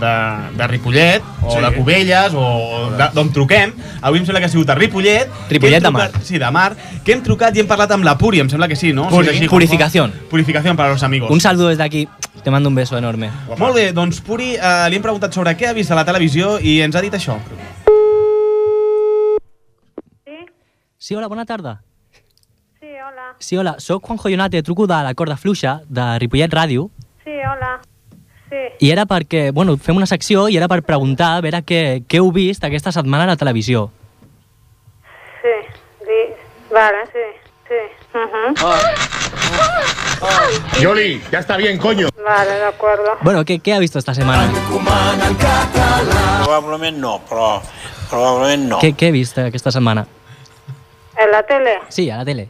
de, de Ripollet, o
Sí.
de Cubelles, o de- d'on truquem. Avui em sembla que ha sigut a Ripollet.
Ripollet
que hem
de Mar.
trucat- Sí, de Mar. Que hem trucat i hem parlat amb la Puri, em sembla que sí, no?
Puri.
Sí, així, com-
Purificación.
Purificación para los amigos.
Un saludo desde aquí. Te mando un beso enorme.
Molt bé, doncs Puri, eh, li hem preguntat sobre què ha vist a la televisió i ens ha dit això.
Sí, hola, bona tarda. Sí, hola, sóc Juanjo Jonate, truco de la corda fluixa de Ripollet Ràdio
Sí, hola. Sí.
i era perquè, bueno, fem una secció i era per preguntar a veure què, què heu vist aquesta setmana a la televisió.
Sí, sí. Vale, sí, sí. Ujú.
Ah.
Yoli, ya está bien, coño.
Vale, de acuerdo.
Bueno, ¿qué, qué ha visto esta semana?
Probablement no, però... Probablement no.
¿Qué, ¿Qué he visto esta semana?
¿En la tele?
Sí, a la tele.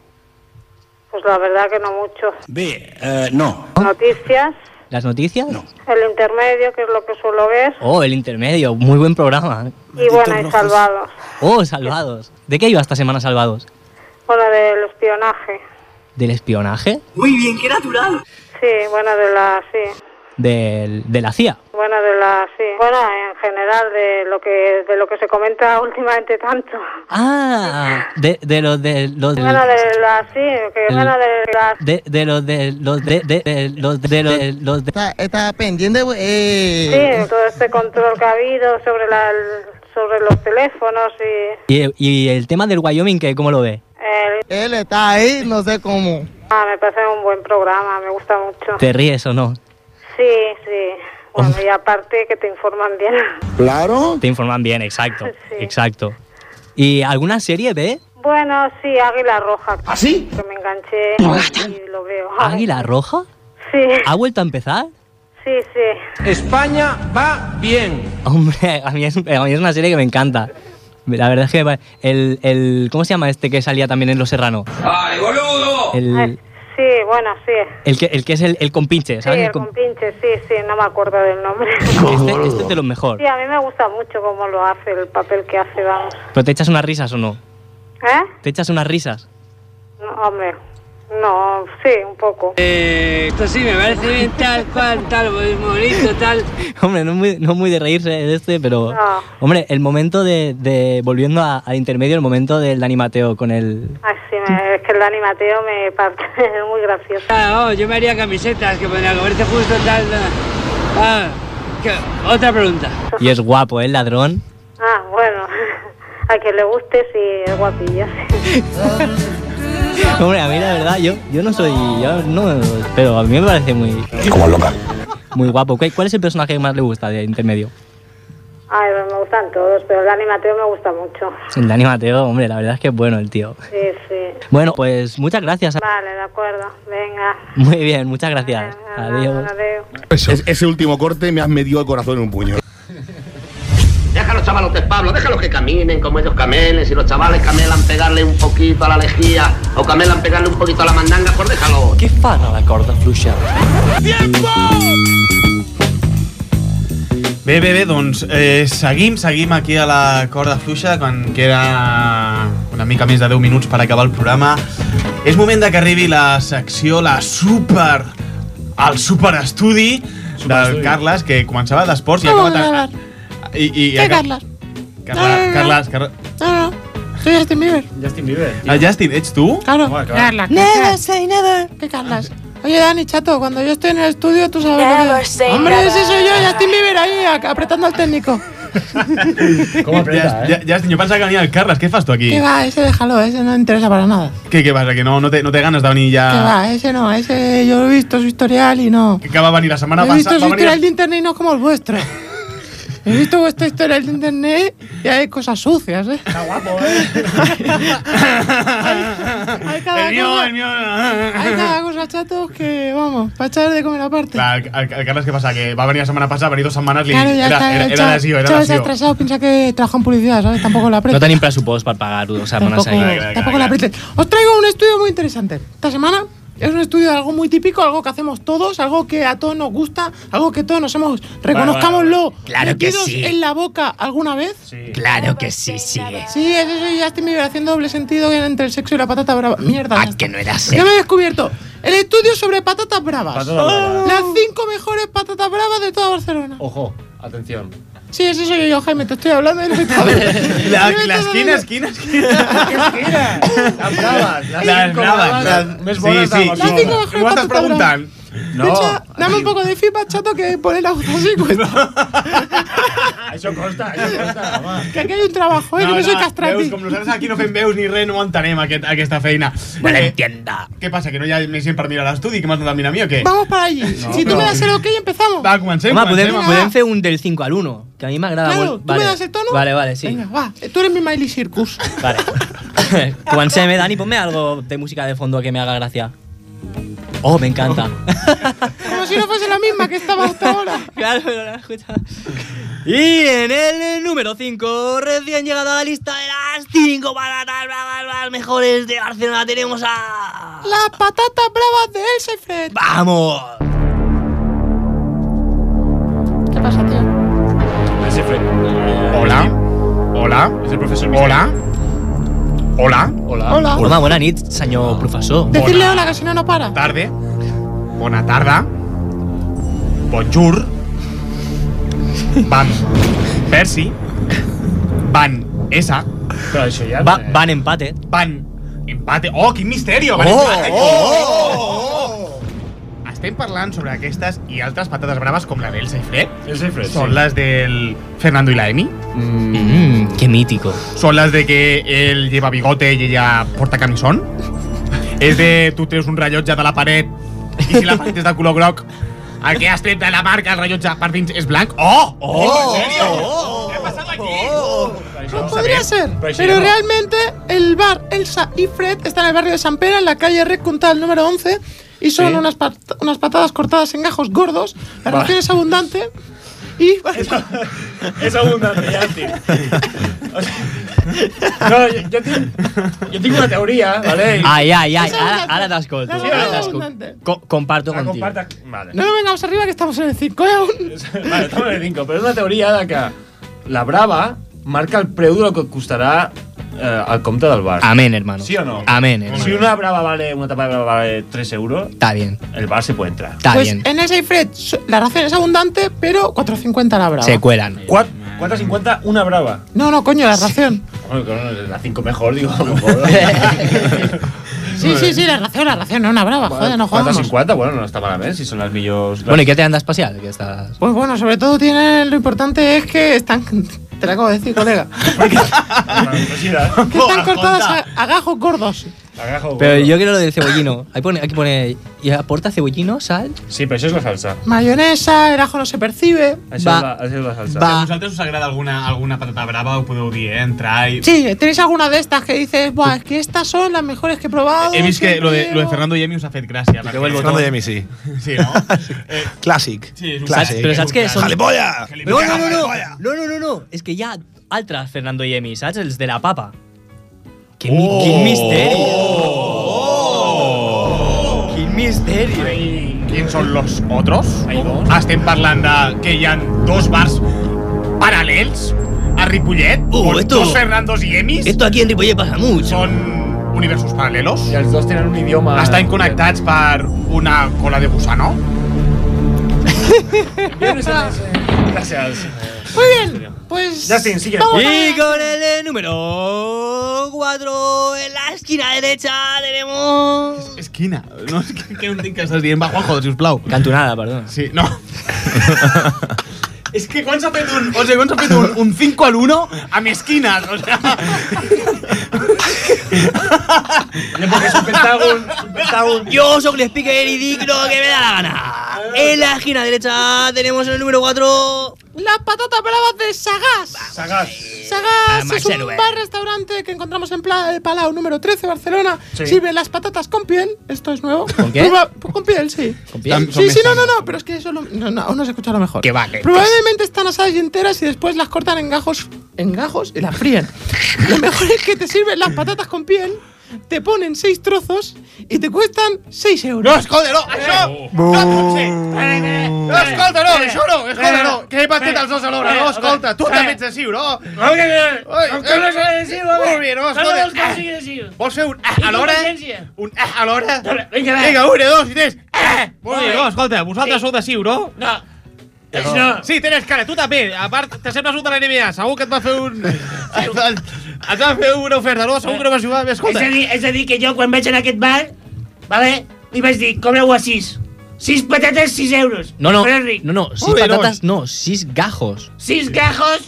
Pues la verdad que no mucho.
Bé, eh, no.
Noticias,
¿Las noticias? No.
el intermedio, que es lo que suelo ver,
Oh, el intermedio, muy buen programa. eh.
y bueno, y salvados.
Oh, Salvados. ¿De qué iba esta semana Salvados?
Bueno, del espionaje.
¿Del espionaje?
Muy bien, qué natural. Sí, bueno, de la, sí.
¿Del, ¿De la CIA?
Bueno, de la, sí. Bueno, en general, de lo que, de lo que se comenta [LAUGHS] últimamente tanto.
Ah, de, de los de los de,
Bueno, de la, sí, que
El-
bueno, de la,
de, de los de los de, de, de los de los de los de
Está pendiente, Sí, todo este control que ha habido sobre, la, sobre los teléfonos y...
y, y el tema del Wyoming que cómo lo ve?
Él está ahí, no sé cómo. Ah, me parece un buen programa, me gusta mucho.
¿Te ríes o no?
Sí, sí. Bueno, y aparte que te informan bien. [LAUGHS]
Claro. Te informan bien, exacto, exacto. ¿Y alguna serie ve?
Bueno, sí, Águila Roja. ¿Ah, sí? Que me enganché y lo veo.
Águila Roja?
Sí,
¿Ha vuelto a empezar?
sí, sí.
España va bien. Hombre, a mí, es, a mí es una serie que me encanta. La verdad es que va- el, el ¿cómo se llama este que salía también en Los Serrano?
¡Ay, boludo!
El,
Sí, bueno, sí.
el que el que es el, el compinche,
Sí,
¿sabes?
el
El com-
compinche, sí, sí, no me acuerdo del nombre.
[LAUGHS] este, este es de los mejor.
Sí, a mí me gusta mucho cómo lo hace, el papel que hace, vamos.
¿Pero te echas unas risas o no?
¿Eh?
¿Te echas unas risas? [LAUGHS]
No, hombre, no, sí, un poco. Eh, esto sí me parece bien, tal cual, tal, bonito, tal.
Hombre, no muy, no muy de reírse de este, pero...
No.
Hombre, el momento de... de- volviendo a- al intermedio, el momento del Dani Mateo con el...
Ay, sí, me- es que el Dani Mateo me parte, [LAUGHS] es muy gracioso. Ah, yo me haría camisetas que podría comerse justo tal. Ah,
otra pregunta. Y es guapo,
[LAUGHS]
¿eh, ladrón?
Ah, bueno, [LAUGHS] a quien le guste, sí, es guapillo.
[LAUGHS]
sí.
Hombre, a mí la verdad, yo, yo no soy... Yo no, pero a mí me parece muy... Como loca. Muy guapo. ¿Cuál cuál es el personaje que más le gusta de intermedio?
Ay, pues me gustan todos, pero el Dani Mateo me gusta mucho.
El Dani Mateo, hombre, la verdad es que es bueno el tío.
Sí, sí.
Bueno, pues muchas gracias.
Vale, de acuerdo, venga.
Muy bien, muchas gracias. Adiós.
Adiós.
ese último corte me has medido el corazón en un puño.
Déjalo, chavalotes, Pablo, déjalos que caminen como ellos camelen. Si los chavales camelan pegarle un poquito a la lejía o camelan pegarle un poquito a la mandanga, pues déjalo.
¿Qué fan a la corda fluixa?
¡Tiempo! Bé, bé, bé, doncs eh, seguim, seguim aquí a la corda fluixa quan queda una mica més de 10 minuts per acabar el programa. És moment de que arribi la secció, la super... el superestudi del Carles, que començava d'esports i ha acabat... A, i, i,
Què,
aca-
Carles?
Carla, Carla, Carla.
No, no, soy Justin Bieber.
Justin Bieber. Ah, Justin, ¿ets tú?
Claro.
Home,
Never say never. ¿Qué Carlas? Oye, Dani, chato, cuando yo estoy en el estudio, tú sabes.
Never
lo que-
say
Hombre,
never.
ese soy yo, Justin Bieber ahí, ac- apretando al técnico.
¿Cómo aprieta, eh? Justin, yo pensaba que venía el Carlas. ¿Qué fas tú aquí?
¿Qué va? Ese déjalo, ese no interesa para nada.
¿Qué, qué pasa? ¿Que no, no, te, no te ganas de venir
¿Qué
ya?
va? Ese no, ese yo lo he visto su historial y no.
Que va a venir la semana
he visto
pasada.
su
Va venir...
historial de internet y no como el vuestro. He visto vuestro historial de internet y hay cosas sucias, ¿eh? Está guapo, ¿eh? hay, cada
El mío,
cosa,
el mío.
hay
[LAUGHS]
cada cosa, chatos, que vamos, para echar de comer aparte.
Clar, el, el, el Carles, ¿qué pasa? Que va a venir la semana pasada, va venir dos semanas y
Claro, ya
era,
está.
era,
el
era
chavo-
lesió, era
chavo está
lesió.
atrasado, piensa que trabaja en publicidad, ¿sabes? Tampoco la
No
aprieta.
tenim pressupost per pagar-ho dos setmanes
tampoco tampoco la aprieta. Os traigo un estudio muy interesante. Esta semana es un estudio de algo muy típico, algo que hacemos todos, algo que a todos nos gusta, algo que todos nos hemos, reconozcámoslo,
Claro que
metidos
sí.
en la boca alguna vez.
Claro que sí, sí.
Sí, es eso y Justin Bieber haciendo doble sentido entre el sexo y la patata brava. Mierda. ya
Ah,
está.
que no era
Ya me he
así.
descubierto. El estudio sobre patatas bravas.
Patatas bravas.
Las cinco mejores patatas bravas de toda Barcelona.
Ojo,
[LAUGHS]
atención.
Sí, eso soy yo, Jaime, te estoy hablando
[LAUGHS]
del espectador.
La, la esquina, esquina, esquina.
Las bravas,
las Las cinco bravas, bravas, las més bones sí, de sí. Barcelona.
Las cinco mejores
M'ho estàs
patates bravas.
preguntant? No.
Picha, dame un poco de feedback, chato, que poner la voz así
[LAUGHS]
cuesta.
Això costa, això costa, home.
que aquí hay un trabajo, eh, que no soy
Veus,
castrati.
com nosaltres aquí no fem veus ni res, no entenem aquest, aquesta feina. No l'entienda. Què passa, que no hi ha més gent per mirar l'estudi? Que m'has donat a mirar a mi o què?
Vamos para allí.
No,
si tú
pero-
me das el ok, em- empezamos.
Va, comencem,
Home, podem,
comencem.
podem fer un del 5 al 1, que a mi m'agrada
Claro,
molt.
¿tú me das el tono?
Vale, vale, sí.
Venga, va. eh, Tú eres mi Miley Circus.
Vale. [LAUGHS] Comencem, eh, Dani, ponme algo de música de fondo que me haga gracia. Oh, me
[LAUGHS]
encanta.
Como si no fuese la misma que estaba hasta ahora.
[LAUGHS] claro, pero la escucha. Y en el número 5, recién llegado a la lista de las 5 patatas bravas las mejores de Barcelona, tenemos a...
Las patatas bravas de Elsa y Fred.
¡Vamos!
¿Qué pasa, tío?
Ese fre- Hola. Hola. És el professor Hola. Hola. Hola. Ah.
Hola.
Home, bona nit, senyor professor.
Decirle hola, que si no, no para.
Tarde. Bona tarda. Bonjour. Van. Percy. Van. Esa. Però això ja...
Va, van empate.
Van. Empate. Oh, quin misteri! Van
Oh,
empate.
oh,
oh. Estem parlant sobre aquestes i altres patates braves com la d'Elsa i Fred. Elsa i
Fred,
Són
sí.
les del Fernando i la Emi.
Mmm, qué mítico.
Son las de que él lleva bigote y ella porta camisón. És de tu treus un rellotge de la paret i si la paret és de color groc, el que has tret de la marca, el rellotge per dins és blanc. Oh!
Oh!
¿En serio?
oh, Pues podría ser.
Pero
Pero,
si no-
realmente el bar Elsa y Fred está en el barrio de San Pera, en la calle Red Contal número 11. Y son
Sí.
unas, pat- unas patadas cortadas en gajos gordos. La
Vale.
ración es abundante. Y.
És abundant, ja et dic. O sigui, No, jo, jo, tinc, jo tinc una teoria, vale?
[LAUGHS] Ay, ay, ay, ahora, ahora te ascolto.
La
ahora te
comparto.
ascolto. Co- comparto
La
contigo.
comparta... Vale.
No, no vengamos arriba que estamos en el 5 aún.
Vale, estamos en el 5, però és una teoria de que la brava marca el preu del que et costarà eh, el compte del bar.
Amén, hermano.
¿Sí o no?
Amén, hermano.
Si una brava vale, una tapa de brava vale 3 euros,
Está bien.
el bar se puede entrar.
Está
pues
bien.
en Elsa y Fred so- la ración es abundante, pero 4.50 la brava.
Se cuelan.
4,50 una brava.
No, no, coño, la ración.
Bueno, claro, la 5 mejor, digo.
[LAUGHS] Sí, sí, sí, la ración, la ración, no una brava. Joder, no jugamos.
4,50, bueno, no està malament, si són les millors...
Bueno, ¿y qué te anda espacial? Que estás...
Pues bueno, sobre todo tienen lo importante es que están. Te lo acabo de decir,
[LAUGHS]
colega. que están cortadas a, a gajos gordos.
Pero yo quiero lo del cebollino. Ahí pone, aquí pone. ¿Y aporta cebollino, sal?
Sí, pero eso es la salsa.
Mayonesa, el ajo no se percibe.
és la salsa.
Si a vosaltres us agrada alguna, alguna patata brava, ho podeu dir, eh? entrar i...
Sí, ¿tenéis alguna de estas que dices, Buah, es que estas son las mejores que he probado?
He vist que lo de, lo de
quiero"?
Fernando Yemi us ha fet gràcia. perquè-
Fernando Yemi, sí.
Sí, no?
Clàssic.
Sí, és un
Clàssic.
Pero ¿sabes qué? Son...
Galipolla!
No, no, no, no. No, no, no, no. Es que ya altas Fernando y Emi, ¿sabes? El de la papa. ¡Qué, mi-
Oh!
qué misterio!
¡Qué misterio! ¿Quién son los otros? Ah, Estem parlant de que hi ha dos bars paral·lels a Ripollet,
Uh,
con
esto-
dos Fernandos y Emis.
Esto aquí en Ripollet pasa mucho.
Son universos paral·lelos.
I els dos tenen un idioma...
Estan connectats per una cola de gusano.
Gràcies.
Ah.
Muy bien, pues
Justin, sigue.
Y con el eh, número 4, en la esquina derecha tenemos.
Esquina. No, és que, que no entenc què estàs dient. Va, Juanjo, sisplau.
Cantonada, perdó.
Sí,
[LAUGHS]
no. És que quan s'ha fet un... O sigui, quan s'ha fet un, un 5 al 1 amb esquines, o sea...
Le pones un pentágono, un pentágono. Yo soy el speaker y digo lo que me da la gana. En la esquina derecha tenemos el número 4.
Las patatas bravas de Sagaz.
Sagaz.
Sagaz
Además,
es un
héroe.
bar-restaurante que encontramos en Pla de Palau número 13, Barcelona.
Sí.
Sirve las patatas con piel. Esto es nuevo.
¿Con qué?
Prueba- con piel, sí.
¿Con piel? Son
Sí, sí, no,
mesanas.
no, no. Pero es que eso lo- no, no, aún no se escucha lo mejor.
Que vale. pues.
Probablemente están asadas y enteras y después las cortan en gajos, en gajos y las fríen. Lo mejor es que te sirven las patatas con piel, te ponen seis trozos y te cuestan 6 euros. Eh.
No, escolta, no, això
no
pot ser.
Mm.
No, Eh, escolta,
Eh.
eh,
no, això no, escolta, no. Que he patit els dos alhora, no, escolta. Tu també
Eh.
ets així,
No,
no?
que no. Com que eh, no
soy
soy així, home.
Molt bé, no,
Com no vols que
escolta.
sigui així?
Vols fer un ah alhora? Un ah alhora?
Vinga, va.
Vinga, un, dos i tres. Ah! Molt
Molt
bé,
bé.
no, escolta, vosaltres sou de Siu, no?
No.
Però-
No.
Sí, tens cara, tu també. A part, te sembles un de la NBA. Segur que et va fer un... Et va fer una oferta, no? Segur que no vas jugar. Escolta.
És a dir, és a dir que jo quan vaig anar a aquest bar, vale, li vaig dir, cobreu a 6. 6 patates, 6 euros.
No, no,
Però és ric.
no, no, sis patatas, no, sis gajos.
6 gajos.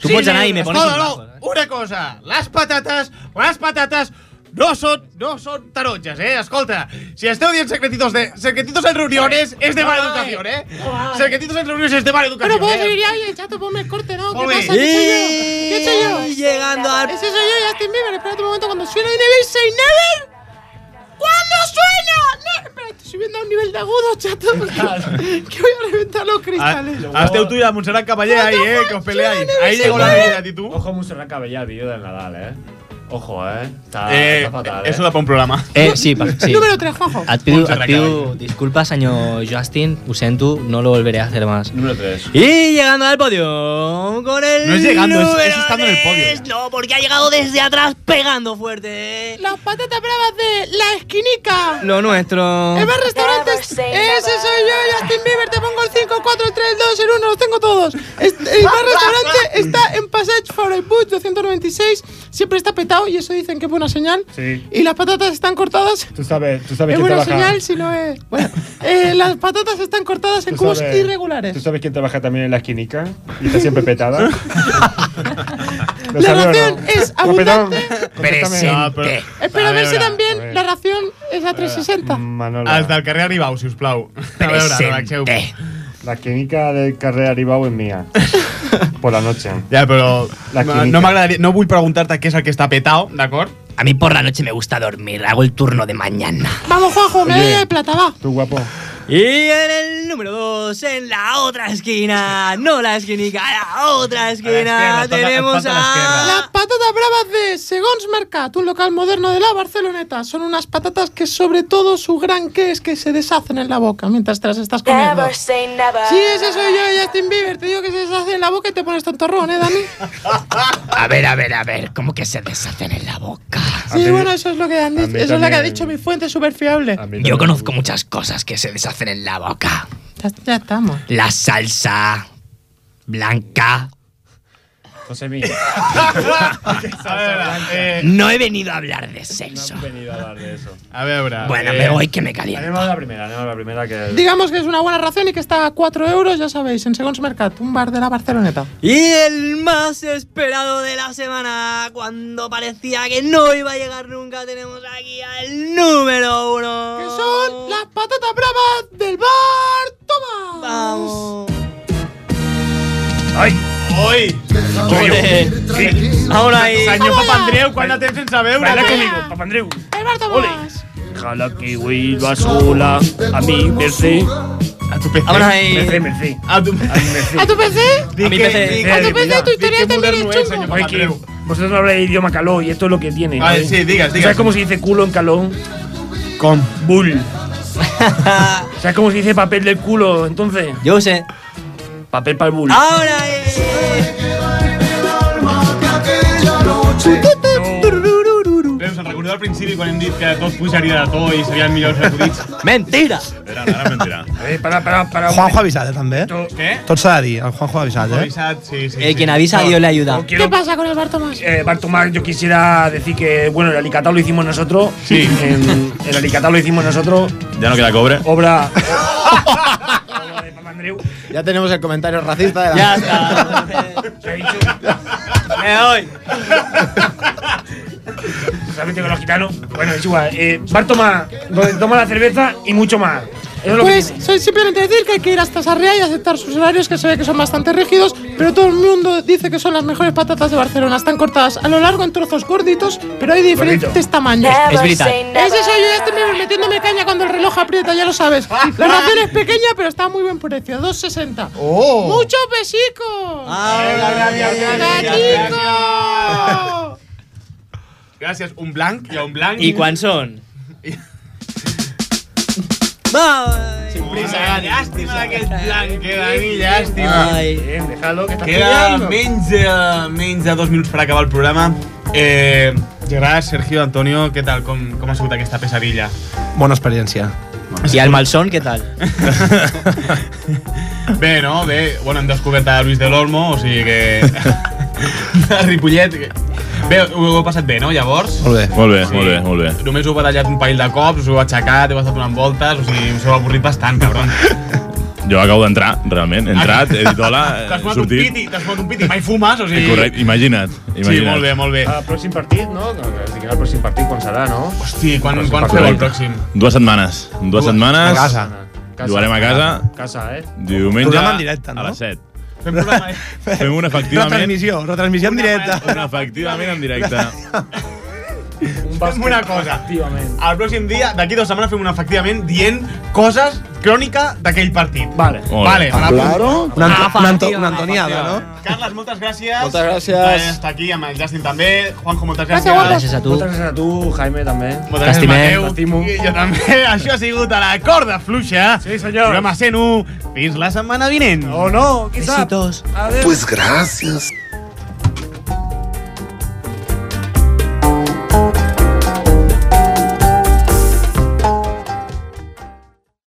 Tu
Sí,
pots anar i me pones un
Escolta,
gajo.
no, una cosa. Les patates, les patates no són, no són taronges, eh? Escolta, si esteu dient secretitos, de, secretitos en reuniones, és de mala educació, eh? Secretitos en reuniones és de mala educació,
Pero puedo
eh?
seguir ya y el chato ponme el corte, ¿no? ¿Qué
Ole.
pasa? ¿Qué soy yo? ¿Qué soy yo?
Y [LAUGHS] llegando al-
Ese soy yo, Justin Bieber. Espérate un momento, cuando suena Never Say Never. ¿Cuándo suena? No, espera, estoy subiendo a un nivel de agudo, chato, porque [LAUGHS] que voy a reventar los cristales.
Ah, Esteu tu i la Montserrat Caballé ahí, eh? [LAUGHS] Que os peleáis. Ahí llegó la vida. ¿y tú?
Ojo, Montserrat Cabellá, vídeo del Nadal, eh. Ojo, eh. Está,
Eh,
está fatal, eh.
eso da para un programa.
Eh, sí, pa- sí.
Número 3, Juanjo.
Et pido,
Montserrat
et pido disculpas, señor Justin, ho sento, no lo volveré a hacer más.
Número 3.
Y llegando al podio con el
No es llegando, es- es
número
estando en el podio
tres. No, porque ha llegado desde atrás pegando fuerte. ¿eh?
Las patatas bravas de La Esquinica.
Lo nuestro.
El bar restaurante es- Ese soy yo, Justin Bieber. Te pongo el 5, 4, 3, 2, en 1. Los tengo todos. Este- el bar restaurante está en Passage Fabre Butch 296. Siempre está petado y eso dicen que es buena señal.
Sí.
Y las patatas están cortadas.
Tú sabes, tú sabes
Es
quién
buena
trabaja.
señal si no es. Bueno, eh, las patatas están cortadas en
Tú
cubos
sabes-
irregulares.
¿Tú sabes quién trabaja también en la esquinica? Y está siempre
[LAUGHS]
petada. ¿Lo
La
sabes o no?
ración
[LAUGHS]
es
¿Lo petaron?
abundante.
Contéstame.
No, però-
Espera a ver si
veure,
a
también
ver.
la ración es a 360.
Mm. Manolo.
Els del carrer Arribau, si us plau. A veure, relaxeu.
La esquinica del carrer Aribau es
[LAUGHS]
mía. Por la noche.
Ja, però
La
no,
química.
no m'agradaria... No vull preguntar-te què és el que està petao, d'acord?
A mi por la noche me gusta dormir, hago el turno de mañana.
Vamos, Juanjo,
Oye.
medalla de plata, va.
Tú guapo.
Y en el número 2, en la otra esquina, no la esquinica, la otra esquina,
esquerra, toca-
tenemos
toca la
a...
Las patatas bravas de Segons Mercat, un local moderno de la Barceloneta. Son unas patatas que sobre todo su gran que es que se deshacen en la boca mientras te las estás comiendo.
Never say never.
Sí, ese soy yo, Justin Bieber. Te digo que se deshace en la boca y te pones tontorrón, ¿eh, Dani?
A ver, a ver, a ver, ¿cómo que se deshacen en la
[LAUGHS]
boca?
Sí, bueno, eso es lo que han dicho.
mí
Eso es lo que ha
también.
dicho mi fuente súper fiable.
Yo conozco muchas cosas que se deshacen en la boca.
Ya, ya estamos.
La salsa blanca.
José
eh.
No he venido a hablar de sexo.
No he venido a hablar de eso.
A eh, veure...
Bueno, me voy que me caliento.
Anem a la primera, anem a la primera que...
Digamos que es una buena ración y que está a 4 euros, ya sabéis, en Segons Mercat, un bar de la Barceloneta.
Y el más esperado de la semana, cuando parecía que no iba a llegar nunca, tenemos aquí al número uno.
Que son las patatas bravas del bar Tomás.
Ai! Oi!
Joder.
Ahora ahí. Senyor
Hola.
Papandreu, quant de temps sense veure?
Baila conmigo, Papandreu.
El bar Tomás.
Jala que vuelva sola a mi merced.
A tu PC.
Ahora ahí. Merced, merced.
A tu
¿A tu PC?
A mi PC.
¿A tu PC?
Cuidado.
Tu historial también es chungo.
Ay, que vosotros no habláis idioma caló y esto es lo que tiene.
Ah,
¿eh?
sí, digas, digas.
¿Sabes cómo se dice culo en caló?
Con
bull. ¿Sabes cómo se dice papel del culo entonces?
Yo sé.
Papel para el bull.
Ahora
Veus, se'n recordeu al principi quan hem dit que tots pujaria de to i serien millors acudits?
[LAUGHS] Mentira!
mentira, no era mentira.
Eh, para, para, para. Juanjo ha avisat, eh, també.
Tu, què?
Tot s'ha de dir, el Juanjo ha avisat, eh?
Avisat, sí, sí.
El quien avisa, Dios le ayuda.
¿Qué pasa con el Bartomás?
Eh, Bartomás, yo quisiera decir que, bueno, el Alicatao lo hicimos nosotros. Sí. En, el Alicatao lo hicimos nosotros.
Ya no queda cobre.
[LAUGHS]
Obra.
Ya tenemos el comentario racista de la
Ya
[LAUGHS]
está. Me voy. Solamente con los gitanos. Bueno, es igual. Eh, Bartomás, donde toma la cerveza y mucho más. Eso es lo que
Pues soy simplemente decir que hay que ir hasta Sarriá y aceptar sus horarios, que se ve que son bastante rígidos, pero todo el mundo dice que son las mejores patatas de Barcelona. Están cortadas a lo largo en trozos gorditos, pero hay de diferentes
Gordito.
tamaños.
Es- es vital.
Ese soy yo, este me metiéndome caña cuando el reloj aprieta, ya lo sabes. La ración es pequeña, pero está a muy buen precio, 2,60.
Oh.
¡Muchos besicos! ¡Gatico!
Gràcies, un blanc i un blanc.
I quan són?
Sin prisa, Dani. Llàstima d'aquest blanc, que Dani, llàstima.
Ai.
Bien, dejadlo, que está
Queda
estudiando.
menys de, menys de dos minuts per acabar el programa. Eh, Gerard, Sergio, Antonio, què tal? Com, com ha sigut aquesta pesadilla?
Bona experiència.
I el malson, què tal?
Bé, no? Bé, bueno, hem descobert a Luis del Olmo, o sigui que...
[LAUGHS]
a Ripollet... Bé, ho heu passat bé, no, llavors?
Molt bé.
Molt bé, molt bé, molt bé.
Només heu barallat un parell de cops, us heu aixecat, heu estat donant voltes, o sigui, us heu avorrit bastant, cabron.
Jo acabo d'entrar, realment. He entrat, he dit [LAUGHS] hola,
T'has fumat
he
un
sortit.
piti, t'has fumat un piti, mai fumes, o sigui...
Correcte, imagina't. imagina't.
Sí, molt bé, molt bé.
El pròxim partit, no? Doncs, no que diguem el pròxim partit quan serà, no?
Hosti, quan,
Pròxim
quan
partit.
feu el pròxim?
Dues setmanes. Dues,
Dues.
setmanes.
A casa. Casa.
Jugarem a casa.
Casa, eh?
Diumenge
Programa en directe, no?
a les 7.
Fem programa, eh?
[LAUGHS] Fem un efectivament,
Retransmissió, retransmissió en directe.
[LAUGHS] un efectivament en directe.
Fem una cosa. El pròxim dia, d'aquí dues setmanes, fem un efectivament dient coses crònica d'aquell partit.
Vale.
Molt bé.
Vale, me l'apunto.
Claro. Una Anto- una Anto- una Antoniada, no?
Carles, moltes gràcies.
Moltes gràcies.
Per estar aquí amb el Justin també. Juanjo, moltes gràcies.
Moltes gràcies a tu, Jaime, també.
Moltes gràcies, Mateu. I jo també. [LAUGHS] Això ha sigut a la corda ¿ah? fluixa. Sí, senyor. Programa 101. Fins la setmana vinent.
O no, qui sap?
Besitos.
Adéu.
Pues gracias.